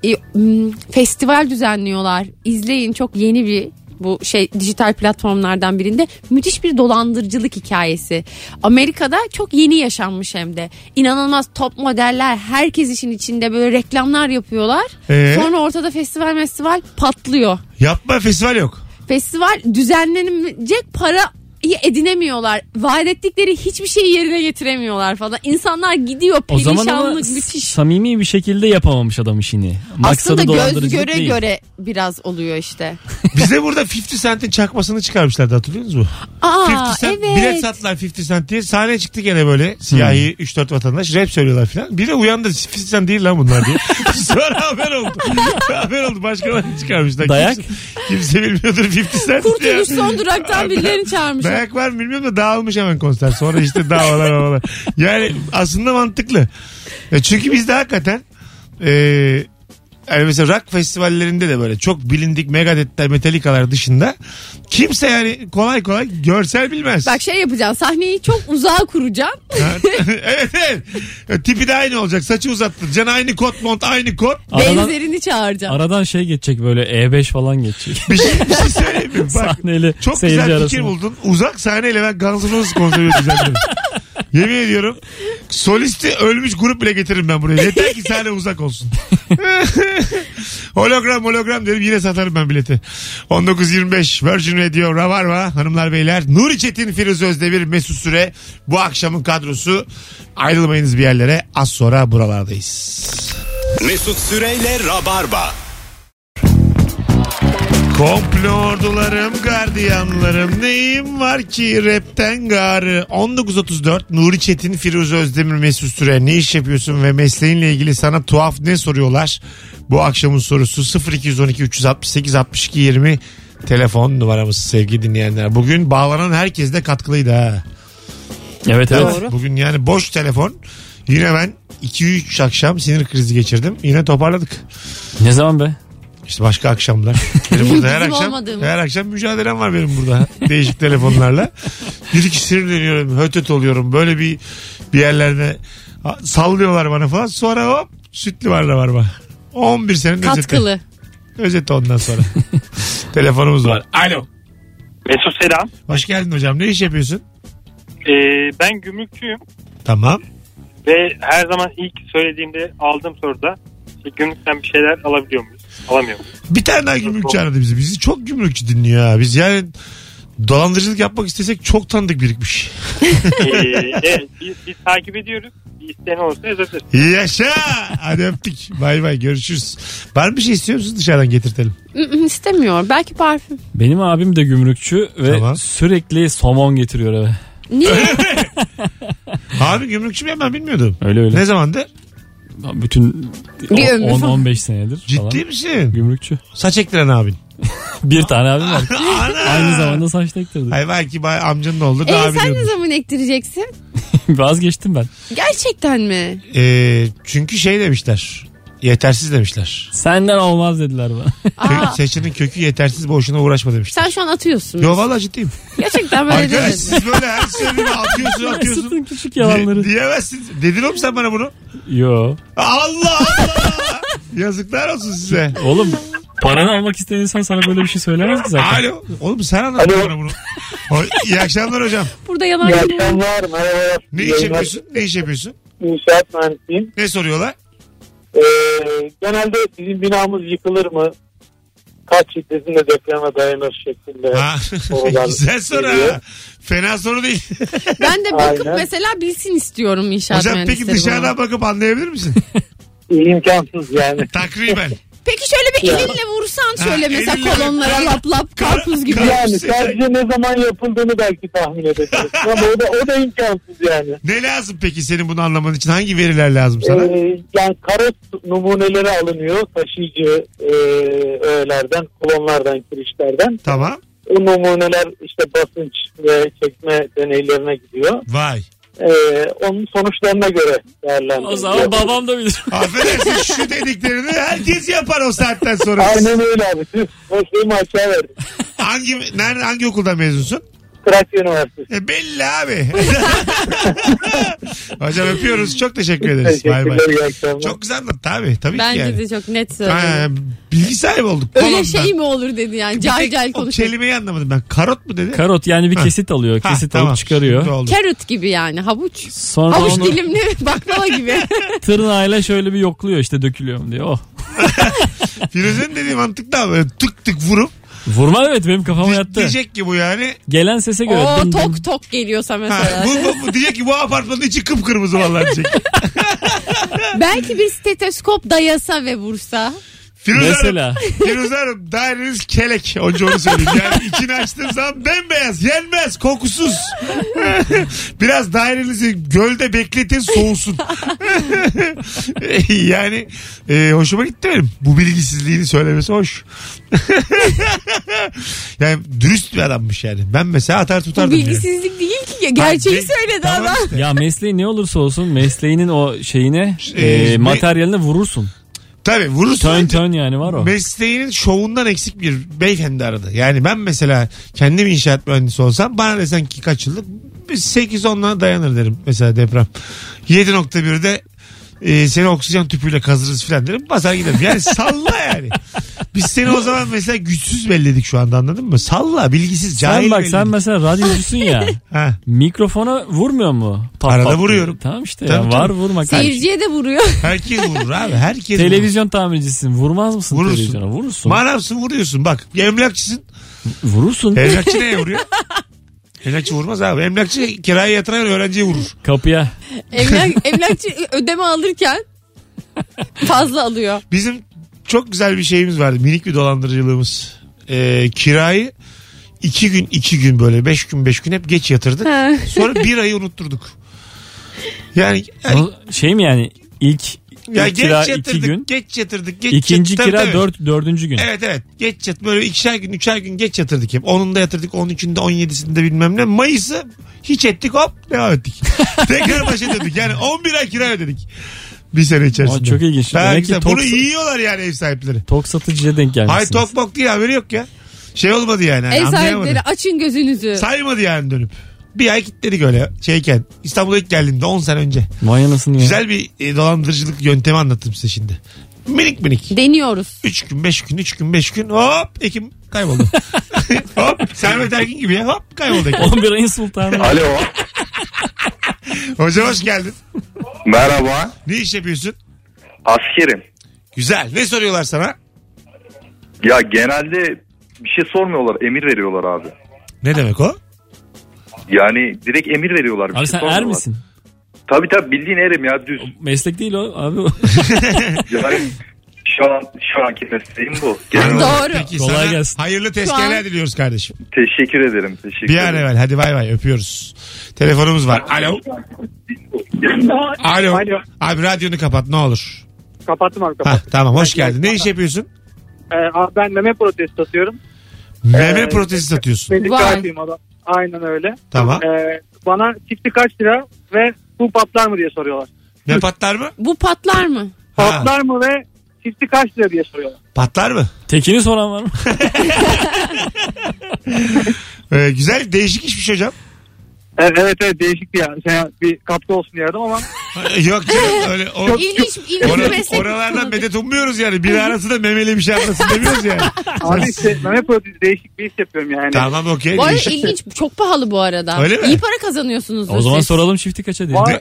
Speaker 3: e, m, festival düzenliyorlar. İzleyin çok yeni bir bu şey dijital platformlardan birinde müthiş bir dolandırıcılık hikayesi. Amerika'da çok yeni yaşanmış hem de. İnanılmaz top modeller herkes işin içinde böyle reklamlar yapıyorlar.
Speaker 2: Ee?
Speaker 3: Sonra ortada festival festival patlıyor
Speaker 2: Yapma festival yok.
Speaker 3: festival düzenlenecek para edinemiyorlar. Vaat ettikleri hiçbir şeyi yerine getiremiyorlar falan. İnsanlar gidiyor
Speaker 4: O zaman ama
Speaker 3: perişanlık müthiş.
Speaker 4: samimi bir şekilde yapamamış adam işini. Maksadı
Speaker 3: Aslında göz
Speaker 4: dolandırıcılık
Speaker 3: göre
Speaker 4: değil.
Speaker 3: göre biraz oluyor işte.
Speaker 2: Bize burada 50 Cent'in çakmasını çıkarmışlardı hatırlıyor musunuz?
Speaker 3: Aa
Speaker 2: 50 Cent
Speaker 3: evet.
Speaker 2: bilet sattılar 50 Cent diye. Sahneye çıktı gene böyle siyahi 3-4 vatandaş rap söylüyorlar filan. Biri uyandı 50 Cent değil lan bunlar diye. Sonra haber oldu. haber oldu başkalarını çıkarmışlar.
Speaker 4: Dayak?
Speaker 2: Kimse, kimse bilmiyordur 50 Cent diye.
Speaker 3: Kurtuluş son duraktan birilerini çağırmış.
Speaker 2: Dayak var mı bilmiyorum da dağılmış hemen konser. Sonra işte davalar havalar. Yani aslında mantıklı. Ya çünkü bizde hakikaten e, yani mesela rock festivallerinde de böyle çok bilindik Megadeth'ler, Metallica'lar dışında kimse yani kolay kolay görsel bilmez.
Speaker 3: Bak şey yapacaksın sahneyi çok uzağa kuracaksın.
Speaker 2: evet evet. E, Tipi de aynı olacak. Saçı uzattıracaksın. Aynı kot mont aynı kot.
Speaker 4: Aradan,
Speaker 3: Benzerini çağıracaksın.
Speaker 4: aradan şey geçecek böyle E5 falan geçecek.
Speaker 2: Bir şey, bir şey söyleyeyim mi? Bak,
Speaker 4: Sahneyle
Speaker 2: Çok
Speaker 4: seyirci
Speaker 2: güzel fikir
Speaker 4: arasında.
Speaker 2: buldun. Uzak sahneyle ben Guns N' Roses konseri düzenlerim. Yemin ediyorum solisti ölmüş grup bile getiririm ben buraya. Yeter ki sahne uzak olsun. hologram hologram derim yine satarım ben bileti. 19.25 Virgin Radio Rabarba hanımlar beyler. Nuri Çetin, Firuze Özdemir, Mesut Süre bu akşamın kadrosu. Ayrılmayınız bir yerlere az sonra buralardayız.
Speaker 1: Mesut Süreyle Rabarba.
Speaker 2: Komplo ordularım, gardiyanlarım neyim var ki rapten garı. 19.34 Nuri Çetin, Firuze Özdemir, Mesut Süre ne iş yapıyorsun ve mesleğinle ilgili sana tuhaf ne soruyorlar? Bu akşamın sorusu 0212 368 62 20 telefon numaramız sevgili dinleyenler. Bugün bağlanan herkes de katkılıydı ha.
Speaker 4: Evet evet.
Speaker 2: Bugün yani boş telefon. Yine ben 2-3 akşam sinir krizi geçirdim. Yine toparladık.
Speaker 4: Ne zaman be?
Speaker 2: İşte başka akşamlar. Benim burada her
Speaker 3: Bizim
Speaker 2: akşam
Speaker 3: olmadığımız.
Speaker 2: her akşam mücadelem var benim burada. Değişik telefonlarla. Bir iki sinirleniyorum, hötöt oluyorum. Böyle bir bir yerlerde ha, sallıyorlar bana falan. Sonra hop sütlü var da var bak. 11 senenin özeti.
Speaker 3: Katkılı.
Speaker 2: Özeti ondan sonra. Telefonumuz var. Alo.
Speaker 8: Mesut selam.
Speaker 2: Hoş geldin hocam. Ne iş yapıyorsun?
Speaker 8: Ee, ben gümrükçüyüm
Speaker 2: Tamam.
Speaker 8: ve her zaman ilk söylediğimde aldığım soruda gümrükten bir şeyler alabiliyor muyuz? Alamıyor muyuz?
Speaker 2: Bir tane daha gümrükçü aradı bizi. Bizi çok gümrükçü dinliyor ha. Biz yani dolandırıcılık yapmak istesek çok tanıdık birikmiş.
Speaker 8: evet, biz, takip ediyoruz. Bir isteyen olursa yazabilir.
Speaker 2: Yaşa. Hadi öptük. Bay bay görüşürüz. Var bir şey istiyor musunuz dışarıdan getirtelim?
Speaker 3: Mm, mm, istemiyor. Belki parfüm.
Speaker 4: Benim abim de gümrükçü ve
Speaker 2: Tamam.
Speaker 4: sürekli somon getiriyor eve.
Speaker 3: Niye?
Speaker 2: Abi gümrükçü mü ben bilmiyordum.
Speaker 4: Öyle öyle.
Speaker 2: Ne zamandır?
Speaker 4: Bütün
Speaker 3: Bir ömür falan.
Speaker 4: 10-15 senedir falan.
Speaker 2: Ciddi misin?
Speaker 4: Gümrükçü.
Speaker 2: Saç ektiren abin.
Speaker 4: Bir tane abim var.
Speaker 2: Ana!
Speaker 4: Aynı zamanda saç tektirdi.
Speaker 2: Ay belki ba- amcanın oldu
Speaker 3: E
Speaker 2: daha
Speaker 3: sen ne
Speaker 2: biliyordur.
Speaker 3: zaman ektireceksin?
Speaker 4: Vazgeçtim ben.
Speaker 3: Gerçekten mi?
Speaker 2: Ee, çünkü şey demişler. Yetersiz demişler.
Speaker 4: Senden olmaz dediler bana.
Speaker 2: Kö-
Speaker 3: Aa,
Speaker 2: saçının kökü yetersiz boşuna uğraşma demişler.
Speaker 3: sen şu an atıyorsun.
Speaker 2: Yo valla ciddiyim.
Speaker 3: Gerçekten böyle
Speaker 2: Arkadaş
Speaker 3: dedin.
Speaker 2: siz böyle her sözünü atıyorsun atıyorsun.
Speaker 4: Mesut'un küçük yalanları.
Speaker 2: Di- diyemezsiniz. Dedin oğlum sen bana bunu.
Speaker 4: Yo.
Speaker 2: Allah Allah. Yazıklar olsun size.
Speaker 4: Oğlum paranı almak isteyen insan sana böyle bir şey söylemez ki zaten.
Speaker 2: Alo. Oğlum sen anlattın bana bunu. iyi akşamlar hocam.
Speaker 3: Burada yalan
Speaker 5: İyi
Speaker 3: yok.
Speaker 5: akşamlar. Merhabalar.
Speaker 2: Ne iş
Speaker 5: Yayınlar.
Speaker 2: yapıyorsun? Ne iş yapıyorsun?
Speaker 5: İnşaat mühendisiyim.
Speaker 2: Ne soruyorlar?
Speaker 5: Ee, genelde bizim binamız yıkılır mı? Kaç şiddetinde depreme dayanır şeklinde.
Speaker 2: Ha,
Speaker 5: sorular
Speaker 2: güzel soru
Speaker 5: geliyor.
Speaker 2: ha. Fena soru değil.
Speaker 3: Ben de bakıp
Speaker 5: Aynen.
Speaker 3: mesela bilsin istiyorum inşaat
Speaker 2: Hocam peki
Speaker 3: mühendisleri
Speaker 2: dışarıdan
Speaker 3: bunu.
Speaker 2: bakıp anlayabilir misin?
Speaker 5: İmkansız yani.
Speaker 2: Takriben.
Speaker 3: Peki şöyle bir elinle vursan
Speaker 2: Ha,
Speaker 3: şöyle
Speaker 2: elinle-
Speaker 3: mesela kolonlara lap lap karpuz gibi.
Speaker 2: Kar-
Speaker 5: Yani sadece ne zaman yapıldığını belki tahmin edebilirsin ama o da, o da imkansız yani.
Speaker 2: Ne lazım peki senin bunu anlaman için? Hangi veriler lazım sana?
Speaker 5: Ee, yani karot numuneleri alınıyor taşıyıcı e, öğelerden, kolonlardan, kirişlerden.
Speaker 2: Tamam.
Speaker 5: O numuneler işte basınç ve çekme deneylerine gidiyor.
Speaker 2: Vay.
Speaker 5: Ee, onun sonuçlarına göre değerlendiriyor.
Speaker 4: O zaman babam da bilir.
Speaker 2: Affedersin şu dediklerini herkes yapar o saatten sonra.
Speaker 5: Aynen öyle abi. Tüh, Boşluğumu açığa verdim.
Speaker 2: Hangi nerede hangi okuldan mezunsun?
Speaker 5: Trakya Üniversitesi.
Speaker 2: E belli abi. Hocam öpüyoruz. Çok teşekkür ederiz. Bay bay.
Speaker 5: Teşekkürler. iyi akşamlar.
Speaker 2: Çok güzel anlattı abi. Tabii
Speaker 3: Bence
Speaker 2: ki yani.
Speaker 3: de çok net
Speaker 2: Ha,
Speaker 3: söyledim.
Speaker 2: bilgi sahibi olduk.
Speaker 3: Öyle
Speaker 2: Kolondan.
Speaker 3: şey mi olur dedi yani cahil cahil
Speaker 2: O
Speaker 3: konuşuyor.
Speaker 2: kelimeyi anlamadım ben. Karot mu dedi?
Speaker 4: Karot yani bir kesit alıyor.
Speaker 2: Ha,
Speaker 4: Kesit
Speaker 2: tamam.
Speaker 4: alıp çıkarıyor.
Speaker 2: Şimdi oldu.
Speaker 3: Carrot gibi yani havuç.
Speaker 4: Sonra
Speaker 3: Havuç
Speaker 4: onu
Speaker 3: dilimli baklava gibi.
Speaker 4: tırnağıyla şöyle bir yokluyor işte dökülüyor mu diye. Oh.
Speaker 2: Firuze'nin dediği mantık da böyle tık tık vurup
Speaker 4: Vurma evet benim kafama
Speaker 2: di-
Speaker 4: yattı.
Speaker 2: diyecek ki bu yani.
Speaker 4: Gelen sese göre.
Speaker 3: O
Speaker 4: dın dın.
Speaker 3: tok tok geliyorsa
Speaker 2: Ha,
Speaker 3: mesela.
Speaker 2: bu, bu- bu diyecek ki bu apartmanın içi kıpkırmızı vallahi diyecek.
Speaker 3: Belki bir stetoskop dayasa ve vursa.
Speaker 2: Firuze Mesela.
Speaker 4: Mesela.
Speaker 2: Hanım, Firuze Hanım daireniz kelek. Önce onu söyleyeyim. Yani içini açtığın zaman bembeyaz, yenmez, kokusuz. Biraz dairenizi gölde bekletin soğusun. yani e, hoşuma gitti benim. Bu bilgisizliğini söylemesi hoş. yani dürüst bir adammış yani. Ben mesela atar
Speaker 3: Bu
Speaker 2: tutardım.
Speaker 3: bilgisizlik değil ki.
Speaker 2: yani.
Speaker 3: Gerçeği
Speaker 2: Ben-
Speaker 3: söyledi
Speaker 2: Tamam
Speaker 3: adam.
Speaker 2: işte.
Speaker 4: Ya mesleği ne olursa olsun mesleğinin o şeyine
Speaker 2: Ee,
Speaker 4: e,
Speaker 2: ne-
Speaker 4: materyaline vurursun.
Speaker 2: Tabii vurursun.
Speaker 4: Tön tön yani var o.
Speaker 2: Mesleğinin şovundan eksik bir beyefendi aradı. Yani ben mesela kendim inşaat mühendisi olsam bana desen ki kaç yıllık 8-10'la dayanır derim mesela deprem. 7.1'de e, seni oksijen tüpüyle kazırız filan derim basar giderim. Yani salla yani. Biz seni o zaman mesela güçsüz belledik şu anda anladın mı? Salla bilgisiz cahil
Speaker 4: Sen bak
Speaker 2: belledik.
Speaker 4: sen mesela radyocusun ya.
Speaker 2: Ha.
Speaker 4: Mikrofona vurmuyor mu? Pat
Speaker 2: Arada
Speaker 4: pat diye.
Speaker 2: vuruyorum.
Speaker 4: Tamam işte
Speaker 2: Tabii,
Speaker 4: ya, var
Speaker 2: tabii.
Speaker 4: vurmak.
Speaker 3: Seyirciye de vuruyor.
Speaker 2: Herkes vurur abi herkes vurur.
Speaker 4: Televizyon tamircisisin. Vurmaz mısın
Speaker 2: Vurursun.
Speaker 4: televizyona? Vurursun.
Speaker 2: Manavsın vuruyorsun bak. Emlakçısın
Speaker 4: vurursun.
Speaker 2: Emlakçı neye vuruyor? Emlakçı vurmaz abi. Emlakçı kiraya yatıran öğrenciye vurur.
Speaker 4: Kapıya.
Speaker 3: Emlak, emlakçı ödeme alırken fazla alıyor.
Speaker 2: Bizim çok güzel bir şeyimiz vardı. Minik bir dolandırıcılığımız. Ee, kirayı iki gün iki gün böyle beş gün beş gün hep geç yatırdık.
Speaker 3: Ha.
Speaker 2: Sonra bir ayı unutturduk. Yani, yani,
Speaker 4: O şey mi yani ilk,
Speaker 2: ya
Speaker 4: ilk kira
Speaker 2: geç
Speaker 4: iki
Speaker 2: yatırdık,
Speaker 4: gün.
Speaker 2: geç yatırdık, geç
Speaker 4: ikinci
Speaker 2: yatırdık. Tabii,
Speaker 4: kira
Speaker 2: tabii.
Speaker 4: dört, dördüncü gün.
Speaker 2: Evet evet. Geç yat böyle ikişer gün, üçer gün geç yatırdık hep. Onunda yatırdık, 13'ünde, 17'sinde bilmem ne. Mayıs'ı hiç ettik hop devam ettik. Tekrar başa döndük. Yani 11 ay kira ödedik. Bir sene içerisinde.
Speaker 4: Aa, çok ilginç.
Speaker 2: Ha,
Speaker 4: Demek ki
Speaker 2: güzel.
Speaker 4: tok-
Speaker 2: Bunu yiyorlar yani ev sahipleri.
Speaker 4: Tok satıcıya denk
Speaker 2: Hay
Speaker 4: gelmişsiniz.
Speaker 2: tok mok diye haberi yok ya. Şey olmadı yani. hani
Speaker 3: Ev
Speaker 2: anlayamadı.
Speaker 3: sahipleri açın gözünüzü.
Speaker 2: Saymadı yani dönüp. Bir ay kilitledik öyle şeyken. İstanbul'a ilk geldiğimde 10 sene önce.
Speaker 4: Vay anasını ya.
Speaker 2: Güzel bir e, dolandırıcılık yöntemi anlattım size şimdi. Minik minik.
Speaker 3: Deniyoruz.
Speaker 2: 3 gün 5 gün 3 gün 5 gün hop Ekim kayboldu. hop Servet Erkin gibi ya hop kayboldu Ekim.
Speaker 4: 11 ayın sultanı.
Speaker 9: Alo.
Speaker 2: Hocam hoş geldin.
Speaker 9: Merhaba.
Speaker 2: Ne iş yapıyorsun?
Speaker 9: Askerim.
Speaker 2: Güzel. Ne soruyorlar sana?
Speaker 9: Ya genelde bir şey sormuyorlar. Emir veriyorlar abi.
Speaker 2: Ne demek o?
Speaker 9: Yani direkt emir veriyorlar. Bir şey
Speaker 4: Abi sen er
Speaker 9: sormuyorlar.
Speaker 4: misin?
Speaker 9: Tabii tabii bildiğin erim ya düz.
Speaker 4: Meslek değil o abi. o.
Speaker 9: Yani şu an şu anki mesleğim bu. Genel olarak.
Speaker 3: Doğru.
Speaker 2: Peki
Speaker 4: Kolay
Speaker 2: sana
Speaker 4: gelsin.
Speaker 2: hayırlı tezkereler
Speaker 3: an-
Speaker 2: diliyoruz kardeşim.
Speaker 9: Teşekkür ederim. Teşekkür
Speaker 2: Bir an
Speaker 9: ederim.
Speaker 2: evvel hadi bay bay öpüyoruz. Telefonumuz var. Alo. Alo. Abi radyonu kapat ne olur.
Speaker 8: Kapattım abi kapattım.
Speaker 2: Hah, tamam hoş geldin. Ne iş yapıyorsun?
Speaker 8: Ee, abi ben meme protezi satıyorum.
Speaker 2: Meme
Speaker 8: Ee,
Speaker 2: protezi satıyorsun.
Speaker 8: Medikal
Speaker 3: Vay.
Speaker 8: firma adam. Aynen öyle.
Speaker 2: Tamam.
Speaker 8: Ee, bana çifti kaç lira ve bu patlar mı diye soruyorlar.
Speaker 2: Ne patlar mı?
Speaker 3: Bu patlar mı?
Speaker 2: Ha.
Speaker 8: Patlar mı ve çifti kaç lira diye soruyorlar.
Speaker 2: Patlar mı?
Speaker 4: Tekini soran var mı?
Speaker 2: Ee, güzel değişik işmiş hocam.
Speaker 8: Evet E, evet, evet değişik bir yani. Sen bir katkı olsun diye aradım ama
Speaker 2: Yok canım öyle. O,
Speaker 3: İlginç, ilginç
Speaker 2: Ora-
Speaker 3: bir meslek.
Speaker 2: oralardan medet ummuyoruz yani. Bir arası da memeli bir şey anlasın demiyoruz yani.
Speaker 8: abi şey, işte meme protezi değişik bir iş yapıyorum yani. Ee,
Speaker 2: tamam okey.
Speaker 3: Bu arada
Speaker 2: değişik.
Speaker 3: ilginç. Çok pahalı bu arada.
Speaker 2: Öyle mi?
Speaker 3: İyi para kazanıyorsunuz.
Speaker 4: o zaman soralım çifti kaça diye.
Speaker 8: Var.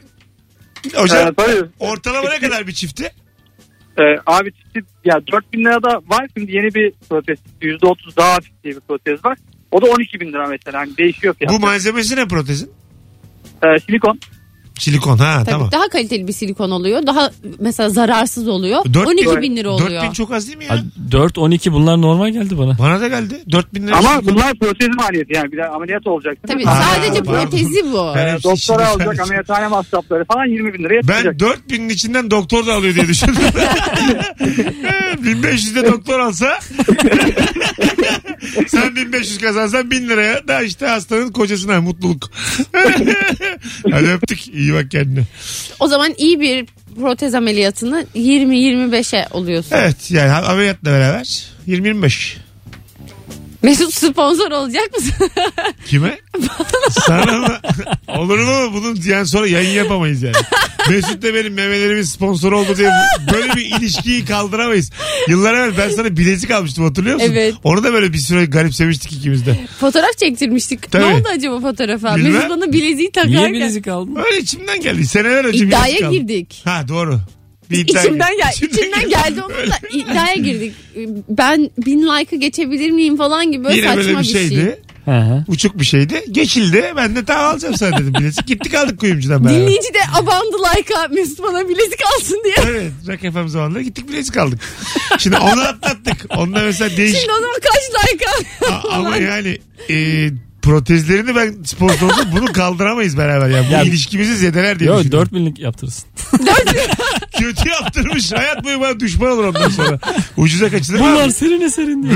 Speaker 2: Hocam
Speaker 8: Ee, tabii.
Speaker 2: ortalama ne kadar bir çifti?
Speaker 8: Ee, abi çifti ya 4000 lira da var şimdi yeni bir protez. %30 daha hafif diye bir protez var. O da 12 bin lira mesela. Hani değişiyor fiyat.
Speaker 2: Bu malzemesi ne protezin?
Speaker 8: Ee, silikon.
Speaker 2: Silikon ha
Speaker 3: Tabii
Speaker 2: tamam.
Speaker 3: Daha kaliteli bir silikon oluyor. Daha mesela zararsız oluyor.
Speaker 2: Dört
Speaker 3: 12 bin lira
Speaker 2: 4
Speaker 3: oluyor.
Speaker 2: bin çok az değil mi ya?
Speaker 4: Ha, 4 12 bunlar normal geldi bana.
Speaker 2: Bana da geldi. 4 bin lira.
Speaker 8: Ama
Speaker 2: silikon.
Speaker 8: bunlar protez maliyeti yani. Bir de ameliyat olacaksın.
Speaker 3: Tabii
Speaker 2: Aa,
Speaker 3: sadece
Speaker 2: pardon.
Speaker 3: protezi bu. e,
Speaker 2: Ben
Speaker 8: Ee,
Speaker 2: hepsi
Speaker 8: doktora
Speaker 2: içinde-
Speaker 8: alacak ameliyathane masrafları falan 20 bin liraya
Speaker 2: Ben
Speaker 8: çıkacak.
Speaker 2: 4000'in içinden doktor da alıyor diye düşündüm. 1500'de doktor alsa sen 1500 kazansan 1000 liraya da işte hastanın kocasına mutluluk. Hadi öptük. İyi bak kendine.
Speaker 3: O zaman iyi bir protez ameliyatını 20-25'e oluyorsun.
Speaker 2: Evet yani ameliyatla beraber 20-25.
Speaker 3: Mesut sponsor olacak mısın?
Speaker 2: Kime? Sana mı? Olur mu? Bunun yani sonra yayın yapamayız yani. Mesut de benim memelerimin sponsoru oldu diye böyle bir ilişkiyi kaldıramayız. Yıllar evvel ben sana bilezik almıştım hatırlıyor musun?
Speaker 3: Evet.
Speaker 2: Onu da böyle bir süre garipsemiştik ikimiz de.
Speaker 3: Fotoğraf çektirmiştik.
Speaker 2: Tabii.
Speaker 3: Ne oldu acaba fotoğrafa?
Speaker 2: Bilmem.
Speaker 3: Mesut bana bileziği takarken.
Speaker 4: Niye bilezik aldın?
Speaker 2: Öyle içimden geldi. Seneler önce bilezik
Speaker 3: İddiaya
Speaker 2: aldım.
Speaker 3: girdik.
Speaker 2: Ha doğru. Bir iddia
Speaker 3: İçimden,
Speaker 2: girdi.
Speaker 3: gel, içimden geldi onun da iddiaya girdik. Ben bin like'ı geçebilir miyim falan gibi böyle
Speaker 2: Yine
Speaker 3: saçma
Speaker 2: böyle bir
Speaker 3: bir şey.
Speaker 2: şeydi.
Speaker 4: Hı hı.
Speaker 2: Uçuk bir şeydi. Geçildi. Ben de tamam alacağım sana dedim bilezik. Gittik aldık kuyumcudan beraber.
Speaker 3: Dinleyici de abandı like'a Mesut bana bilezik alsın diye.
Speaker 2: Evet. Rock FM zamanları gittik bilezik aldık. Şimdi onu atlattık. Onda mesela değişik
Speaker 3: Şimdi o zaman kaç like'a?
Speaker 2: şey- A- ama yani e, protezlerini ben sponsor olsam bunu kaldıramayız beraber yani. Bu
Speaker 4: Ya-
Speaker 2: ilişkimizi zedeler diye
Speaker 4: Yo
Speaker 2: düşünüyorum.
Speaker 4: 4000'lik yaptırırsın.
Speaker 2: Kötü yaptırmış. Hayat boyu bana düşman olur ondan sonra. Ucuza kaçılır.
Speaker 4: Bunlar
Speaker 2: abi.
Speaker 4: senin eserin diye.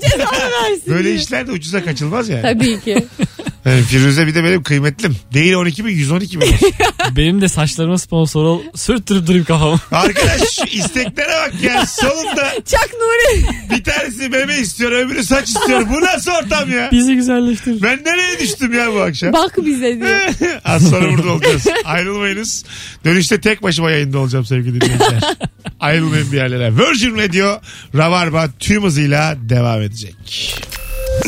Speaker 3: Cezanı versin
Speaker 2: Böyle
Speaker 3: diye.
Speaker 2: işler de ucuza kaçılmaz yani.
Speaker 3: Tabii ki.
Speaker 2: yani Firuze bir de benim kıymetlim. Değil 12 bin 112 bin.
Speaker 4: Benim de saçlarıma sponsor ol. Sürttürüp durayım kafamı.
Speaker 2: Arkadaş şu isteklere bak ya. Solumda
Speaker 3: Çak Nuri.
Speaker 2: bir tanesi meme istiyor öbürü saç istiyor. Bu nasıl ortam ya?
Speaker 4: Bizi güzelleştir.
Speaker 2: Ben nereye düştüm ya bu akşam?
Speaker 3: Bak bize diye.
Speaker 2: Az sonra burada olacağız. Ayrılmayınız. Dönüşte tek başıma yayında olacağım sevgili dinleyiciler. Ayrılmayın bir yerlere. Virgin Radio Rabarba tüm hızıyla devam edecek.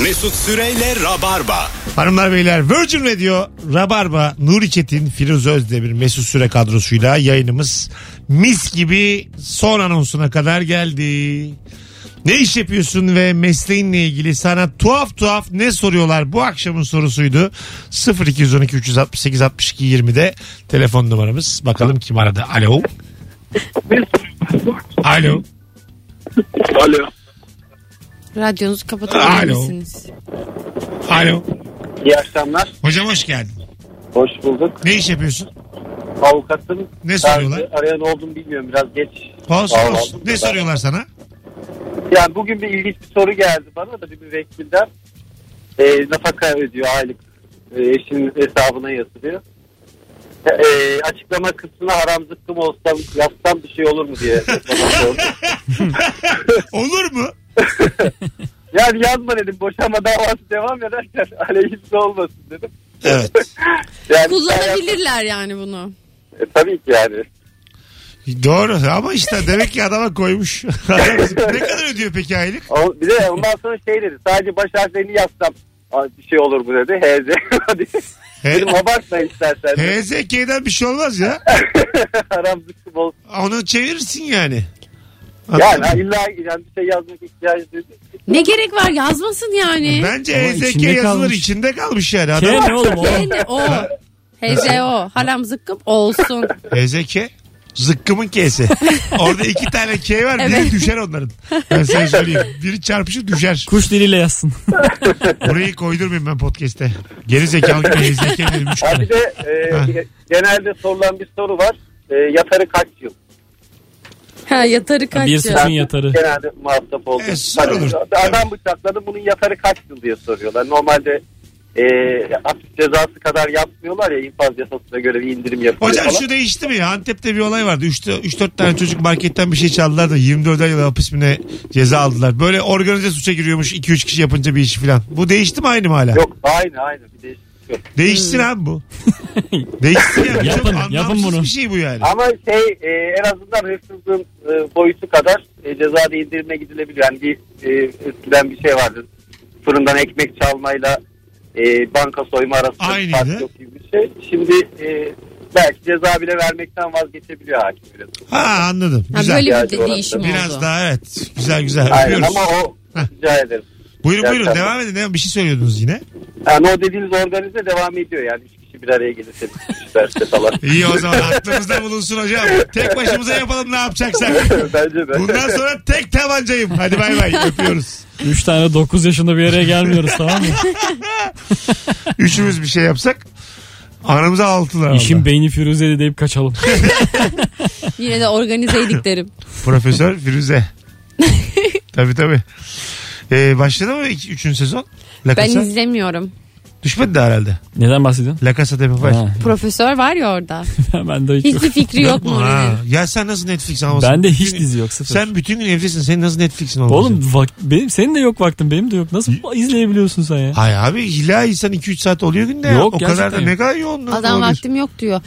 Speaker 1: Mesut Süreyle Rabarba.
Speaker 2: Hanımlar beyler Virgin Radio Rabarba Nuri Çetin Firuze Özdemir Mesut Süre kadrosuyla yayınımız mis gibi son anonsuna kadar geldi. Ne iş yapıyorsun ve mesleğinle ilgili sana tuhaf tuhaf ne soruyorlar bu akşamın sorusuydu. 0212 368 62 20'de telefon numaramız. Bakalım kim aradı? Alo. Alo.
Speaker 7: Alo.
Speaker 3: Radyonuzu kapatabilir
Speaker 2: Alo.
Speaker 3: misiniz?
Speaker 2: Alo.
Speaker 5: İyi akşamlar.
Speaker 2: Hocam hoş geldin.
Speaker 5: Hoş bulduk.
Speaker 2: Ne iş yapıyorsun?
Speaker 5: Avukatım.
Speaker 2: Ne soruyorlar?
Speaker 5: Daha önce Arayan oldum bilmiyorum. Biraz geç.
Speaker 2: Olsun
Speaker 5: Vallahi
Speaker 2: olsun. Ne soruyorlar sana?
Speaker 5: Yani bugün bir ilginç bir soru geldi bana da bir müvekkilden. E, nafaka ödüyor aylık. E, eşinin hesabına yatırıyor. E, e, açıklama kısmına haram zıkkım olsam yapsam bir şey olur mu diye bana sordu.
Speaker 2: Olur mu?
Speaker 5: yani yazma dedim boşanma davası devam ederken aleyhimde olmasın dedim.
Speaker 2: Evet.
Speaker 5: Yani
Speaker 3: Kullanabilirler yani bunu.
Speaker 5: E, tabii ki yani.
Speaker 2: Doğru ama işte demek ki adama koymuş. Adam ne kadar ödüyor peki aylık?
Speaker 5: O- Bir de ondan sonra şey dedi sadece baş harflerini yazsam "Aa, bir şey olur mu dedi. HZ.
Speaker 2: He,
Speaker 5: Dedim abartma istersen.
Speaker 2: HZK'den bir şey olmaz ya.
Speaker 5: haram zıkkım olsun.
Speaker 2: Onu çevirirsin yani.
Speaker 5: Yani ha, illa yani bir şey yazmak ihtiyacı değil.
Speaker 3: Ne gerek var yazmasın yani.
Speaker 2: Bence
Speaker 4: Ama
Speaker 2: HZK
Speaker 4: içinde
Speaker 2: yazılır
Speaker 4: kalmış.
Speaker 2: içinde kalmış yani.
Speaker 4: K
Speaker 2: Adam,
Speaker 4: ne oğlum o?
Speaker 3: Ne o? HCO. Haram zıkkım olsun.
Speaker 2: HZK zıkkımın K'si. Orada iki tane K var biri
Speaker 3: Evet.
Speaker 2: düşer onların. Ben sana söyleyeyim. Biri çarpışır düşer.
Speaker 4: Kuş diliyle yazsın.
Speaker 2: Burayı koydurmayayım ben podcast'te. Geri zekalı gibi HZK dedim üç
Speaker 5: Ha,
Speaker 2: tane.
Speaker 5: bir de e,
Speaker 2: Ha.
Speaker 5: genelde sorulan bir soru var. E, yatarı kaç yıl?
Speaker 3: Ha yatarı kaç
Speaker 4: bir
Speaker 3: ya?
Speaker 4: suçun yatarı.
Speaker 5: Genelde muhatap oldum. Hani
Speaker 2: E, sorulur.
Speaker 5: Adam bıçakladı bunun yatarı kaç yıl diye soruyorlar. Normalde e, hapis cezası kadar yapmıyorlar ya infaz yasasına göre bir indirim yapıyor
Speaker 2: Hocam
Speaker 5: falan.
Speaker 2: şu değişti mi ya? Antep'te bir olay vardı. 3-4 tane çocuk marketten bir şey çaldılar da 24 ay hapis mi ne ceza aldılar. Böyle organize suça giriyormuş 2-3 kişi yapınca bir işi falan. Bu değişti mi aynı mı hala?
Speaker 5: Yok aynı aynı bir değişiklik yok.
Speaker 2: Değişsin abi bu. Değişsin yani. Çok
Speaker 4: Yapın,
Speaker 2: anlamsız
Speaker 4: yapın bunu.
Speaker 2: bir şey bu yani.
Speaker 5: Ama şey e, en azından hırsızlığın e, boyutu kadar e, cezada indirime gidilebiliyor. Yani bir e, eskiden bir şey vardı. Fırından ekmek çalmayla e, banka soyma arasında
Speaker 2: Aynıydı.
Speaker 5: bir fark yok gibi bir şey. Şimdi e, belki ceza bile vermekten vazgeçebiliyor hakim biraz.
Speaker 2: Ha anladım.
Speaker 3: Ha,
Speaker 2: Güzel.
Speaker 3: böyle bir
Speaker 5: İhtiyacı
Speaker 3: de
Speaker 5: olan
Speaker 3: değişim
Speaker 2: Biraz
Speaker 3: oldu.
Speaker 2: daha evet. Güzel güzel.
Speaker 5: Aynen
Speaker 2: Öpüyoruz.
Speaker 5: ama o
Speaker 2: Heh.
Speaker 5: rica ederim.
Speaker 2: Buyurun buyurun
Speaker 5: Gerçekten.
Speaker 2: devam edin. Devam- Bir şey söylüyordunuz yine.
Speaker 5: Yani o dediğiniz organize devam ediyor yani. Üç kişi bir araya gelirse bir kişi derste falan.
Speaker 2: İyi o zaman aklımızda bulunsun hocam. Tek başımıza yapalım ne yapacaksak.
Speaker 5: Bence de.
Speaker 2: Bundan sonra tek tabancayım. Hadi bay bay öpüyoruz.
Speaker 4: Üç tane 9 yaşında bir yere gelmiyoruz tamam mı?
Speaker 2: Üçümüz bir şey yapsak anamıza altılar.
Speaker 4: İşin
Speaker 2: İşim
Speaker 4: beyni firuzeli deyip kaçalım.
Speaker 3: Yine de organizeydik derim.
Speaker 2: Profesör Firuze. tabii tabii. Ee, başladı mı iki, üçüncü sezon? La
Speaker 3: Ben
Speaker 2: Casa?
Speaker 3: izlemiyorum.
Speaker 2: Düşmedi de herhalde.
Speaker 4: Neden bahsediyorsun?
Speaker 2: La Casa de Papel.
Speaker 4: Ha,
Speaker 3: Profesör var ya orada.
Speaker 4: ben de hiç yok.
Speaker 3: Hiçbir fikri yok mu?
Speaker 2: Ha,
Speaker 3: onun?
Speaker 2: Ya sen nasıl Netflix almasın?
Speaker 4: Ben de hiç dizi yok sıfır.
Speaker 2: Sen bütün gün evdesin. Senin nasıl Netflix'in olmasın?
Speaker 4: Oğlum vak- benim senin de yok vaktin benim de yok. Nasıl izleyebiliyorsun sen ya?
Speaker 2: Hay abi illa insan 2-3 saat oluyor günde.
Speaker 4: Yok,
Speaker 2: Yok, o kadar da
Speaker 4: gerçekten
Speaker 2: ne
Speaker 4: yok.
Speaker 2: kadar yoğunluk
Speaker 3: Adam
Speaker 2: olabilir.
Speaker 3: vaktim yok diyor.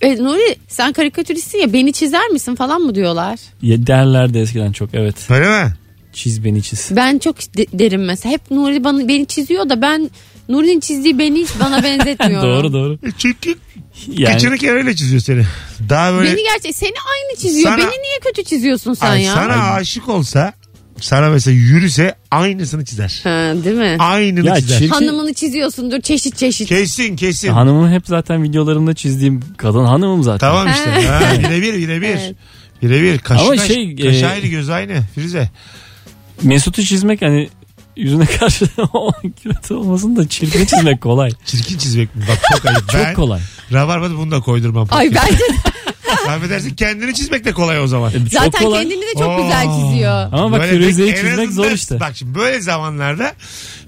Speaker 3: E, Nuri sen karikatüristsin ya beni çizer misin falan mı diyorlar.
Speaker 4: ya derlerdi eskiden çok evet.
Speaker 2: Öyle mi?
Speaker 4: Çiz beni çiz.
Speaker 3: Ben çok de- derim mesela. Hep Nuri bana, beni çiziyor da ben Nuri'nin çizdiği beni hiç bana benzetmiyor.
Speaker 4: doğru doğru.
Speaker 2: E Çünkü
Speaker 4: Yani
Speaker 2: kıçını kereyle çiziyor seni. Daha böyle...
Speaker 3: Beni gerçek seni aynı çiziyor.
Speaker 2: Sana-
Speaker 3: Beni niye kötü çiziyorsun sen
Speaker 2: Ay,
Speaker 3: ya?
Speaker 2: Sana aşık olsa sana mesela yürüse aynısını çizer.
Speaker 3: Ha, değil mi?
Speaker 2: Aynını
Speaker 4: Ya
Speaker 2: çizer.
Speaker 4: çirkin-
Speaker 3: Hanımını çiziyorsundur çeşit çeşit.
Speaker 2: Kesin kesin.
Speaker 4: hanımım hep zaten videolarımda çizdiğim kadın hanımım zaten.
Speaker 2: Tamam işte. Ha, birebir birebir.
Speaker 3: Evet.
Speaker 2: Birebir. Kaşı
Speaker 4: Ama
Speaker 2: kaş,
Speaker 4: şey,
Speaker 2: kaşı
Speaker 4: e-
Speaker 2: ayrı göz aynı. Firuze.
Speaker 4: Mesut'u çizmek hani yüzüne karşı o kötü olmasın da çirkin çizmek kolay.
Speaker 2: Çirkin çizmek mi? Bak çok ayıp.
Speaker 4: Çok
Speaker 2: ben,
Speaker 4: kolay.
Speaker 2: Rabarba'da bunu da koydirmam.
Speaker 3: Ay bence de-
Speaker 2: Affedersin kendini çizmek de kolay o zaman.
Speaker 4: E, Çok
Speaker 3: zaten
Speaker 4: kolay.
Speaker 3: kendini de çok
Speaker 2: Oo.
Speaker 3: güzel çiziyor.
Speaker 4: Ama bak
Speaker 2: Böyle
Speaker 4: Firuze'yi
Speaker 2: pek- en
Speaker 4: çizmek
Speaker 2: azından-
Speaker 4: zor işte.
Speaker 2: Bak şimdi böyle zamanlarda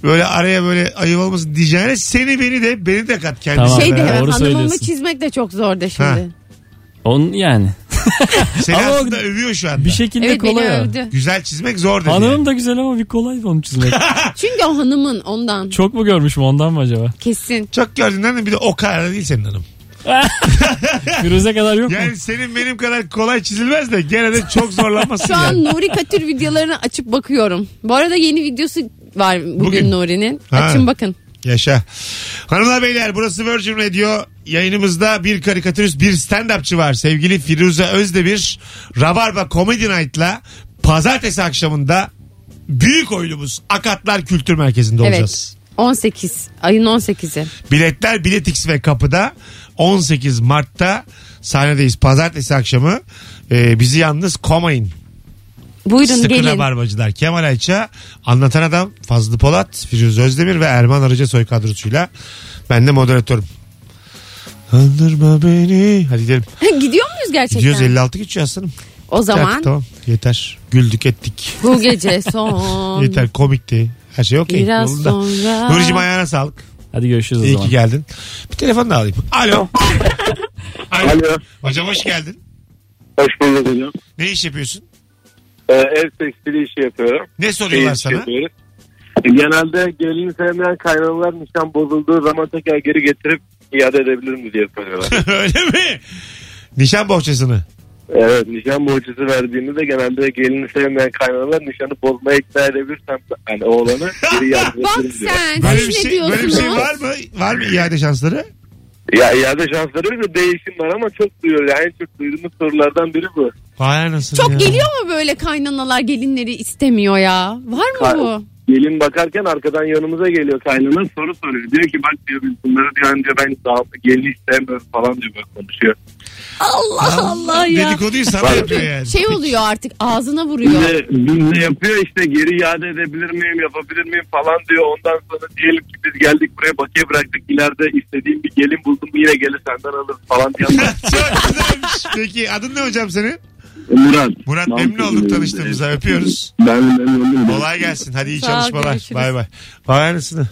Speaker 2: böyle araya böyle ayıp olmasın diyeceğine seni beni de beni de kat kendisi.
Speaker 4: Tamam.
Speaker 3: Şey de
Speaker 4: Doğru
Speaker 3: hemen hanımımı
Speaker 4: söylüyorsun.
Speaker 3: çizmek de çok zor de şimdi.
Speaker 2: Ha.
Speaker 4: Onun yani.
Speaker 2: Seni
Speaker 4: Ama o-
Speaker 2: aslında övüyor şu anda.
Speaker 4: Bir şekilde
Speaker 3: Evet beni
Speaker 4: kolay. o.
Speaker 3: övdü.
Speaker 2: Güzel çizmek zor dedi.
Speaker 4: Hanımım
Speaker 2: yani.
Speaker 4: da güzel ama bir kolay onu çizmek.
Speaker 3: Çünkü o hanımın ondan
Speaker 4: Çok mu görmüşüm ondan mı acaba?
Speaker 3: kesin.
Speaker 2: Çok gördüğünden de bir de o kadar da değil senin hanım.
Speaker 4: Firuze kadar yok mu?
Speaker 2: Yani senin benim kadar kolay çizilmez de gene de çok zorlanmasın
Speaker 3: Şu an
Speaker 2: yani.
Speaker 3: Nuri Katür videolarını açıp bakıyorum. Bu arada yeni videosu var bugün,
Speaker 2: Bugün.
Speaker 3: Nuri'nin.
Speaker 2: Ha.
Speaker 3: Açın bakın.
Speaker 2: Yaşa. Hanımlar beyler burası Virgin Radio. Yayınımızda bir karikatürist bir stand-upçı var. Sevgili Firuze Özdemir. Rabarba Comedy Night'la pazartesi akşamında büyük oyunumuz Akatlar Kültür Merkezi'nde olacağız.
Speaker 3: Evet. 18. Ayın 18'i.
Speaker 2: Biletler Biletix ve kapıda 18 Mart'ta sahnedeyiz. Pazartesi akşamı Ee, bizi yalnız komayın.
Speaker 3: Buyurun
Speaker 2: Sıkı
Speaker 3: gelin.
Speaker 2: rabarbacılar. Kemal Ayça, Anlatan Adam, Fazlı Polat, Firuze Özdemir ve Erman Arıca soy kadrosuyla. Ben de moderatörüm. Andırma beni. Hadi gidelim.
Speaker 3: Gidiyor muyuz gerçekten?
Speaker 2: 256 geçiyor aslanım.
Speaker 3: O
Speaker 2: Yeter,
Speaker 3: zaman
Speaker 2: tamam yeter. Güldük ettik.
Speaker 3: bu gece son.
Speaker 2: Yeter komikti. Her şey okey.
Speaker 3: Biraz
Speaker 2: Yolunda.
Speaker 3: sonra.
Speaker 2: Nuricim ayağına sağlık.
Speaker 4: Hadi görüşürüz o
Speaker 2: İyi ki
Speaker 4: zaman.
Speaker 2: geldin. Bir telefon da alayım. Alo. Alo.
Speaker 5: Alo.
Speaker 2: Hocam hoş geldin.
Speaker 5: Hoş bulduk hocam.
Speaker 2: Ne iş yapıyorsun?
Speaker 5: ev tekstili işi yapıyorum.
Speaker 2: Ne soruyorlar sana?
Speaker 5: E, Genelde gelini sevmeyen kaynanalar nişan bozulduğu zaman tekrar geri getirip iade edebilir mi diye soruyorlar.
Speaker 2: Öyle mi? Nişan bohçasını.
Speaker 5: Evet nişan mucizesi verdiğinde de genelde gelini sevmeyen kaynanalar nişanı bozmaya ikna edebilirsem yani oğlanı geri yardım
Speaker 3: Bak
Speaker 5: ederim diyor.
Speaker 3: sen.
Speaker 2: Böyle
Speaker 3: Hani siz
Speaker 2: bir
Speaker 3: ne
Speaker 2: şey,
Speaker 3: diyorsunuz?
Speaker 2: böyle bir şey var mı? Var mı iade şansları?
Speaker 5: Ya iade şansları da değişim var ama çok duyuyor. Yani en çok duyduğumuz sorulardan biri bu.
Speaker 2: Vay anasını
Speaker 3: Çok
Speaker 2: ya.
Speaker 3: geliyor mu böyle kaynanalar gelinleri istemiyor ya? Var mı
Speaker 5: Kay-
Speaker 3: bu?
Speaker 5: Gelin bakarken arkadan yanımıza geliyor kaynana soru soruyor. Diyor ki bak diyor biz bunları diyor, hani diyor ben dağıldı gelin istemiyorum falan diyor böyle konuşuyor.
Speaker 3: Allah Allah ya.
Speaker 2: Dedikoduyu sana yapıyor yani.
Speaker 3: Şey oluyor artık ağzına vuruyor.
Speaker 5: Bize, bize yapıyor işte geri iade edebilir miyim yapabilir miyim falan diyor. Ondan sonra diyelim ki biz geldik buraya bakiye bıraktık. İleride istediğim bir gelin buldum yine gelir senden alır falan diye.
Speaker 2: Çok güzelmiş. Peki adın ne hocam senin?
Speaker 7: Murat.
Speaker 2: Murat memnun olduk tanıştığımıza
Speaker 5: şey.
Speaker 2: öpüyoruz.
Speaker 7: Ben memnun oldum.
Speaker 2: Kolay gelsin. Hadi iyi
Speaker 3: Sağ ol,
Speaker 2: çalışmalar.
Speaker 3: görüşürüz.
Speaker 2: Bay bay. Vay anasını.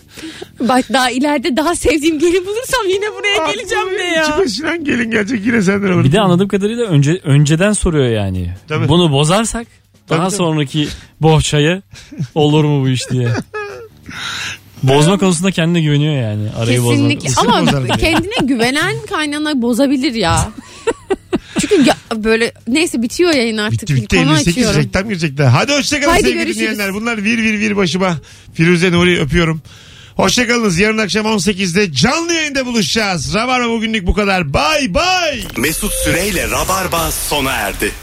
Speaker 3: Bak daha ileride daha sevdiğim gelin bulursam yine buraya geleceğim de
Speaker 2: İçi
Speaker 3: ya.
Speaker 2: başına gelin gelecek yine senden olur.
Speaker 4: Bir de anladığım kadarıyla önce önceden soruyor yani.
Speaker 2: Tabii.
Speaker 4: Bunu bozarsak
Speaker 2: Tabii,
Speaker 4: daha
Speaker 2: tabii.
Speaker 4: sonraki bohçaya olur mu bu iş diye. Bozma konusunda kendine güveniyor yani. Arayı
Speaker 3: Kesinlikle
Speaker 4: bozma.
Speaker 2: Sinir bozar
Speaker 3: ama
Speaker 2: gibi.
Speaker 3: kendine güvenen kaynana bozabilir ya. Çünkü ya- böyle neyse bitiyor yayın artık.
Speaker 2: Bitti bitti
Speaker 3: Konu
Speaker 2: 58
Speaker 3: açıyorum.
Speaker 2: reklam girecekler. Hadi hoşçakalın
Speaker 3: Haydi
Speaker 2: sevgili
Speaker 3: görüşürüz.
Speaker 2: dinleyenler. Bunlar vir vir vir başıma. Firuze Nuri öpüyorum. Hoşçakalınız. Yarın akşam 18'de canlı yayında buluşacağız. Rabarba bugünlük bu kadar. Bay bay.
Speaker 1: Mesut Süreyle Rabarba sona erdi.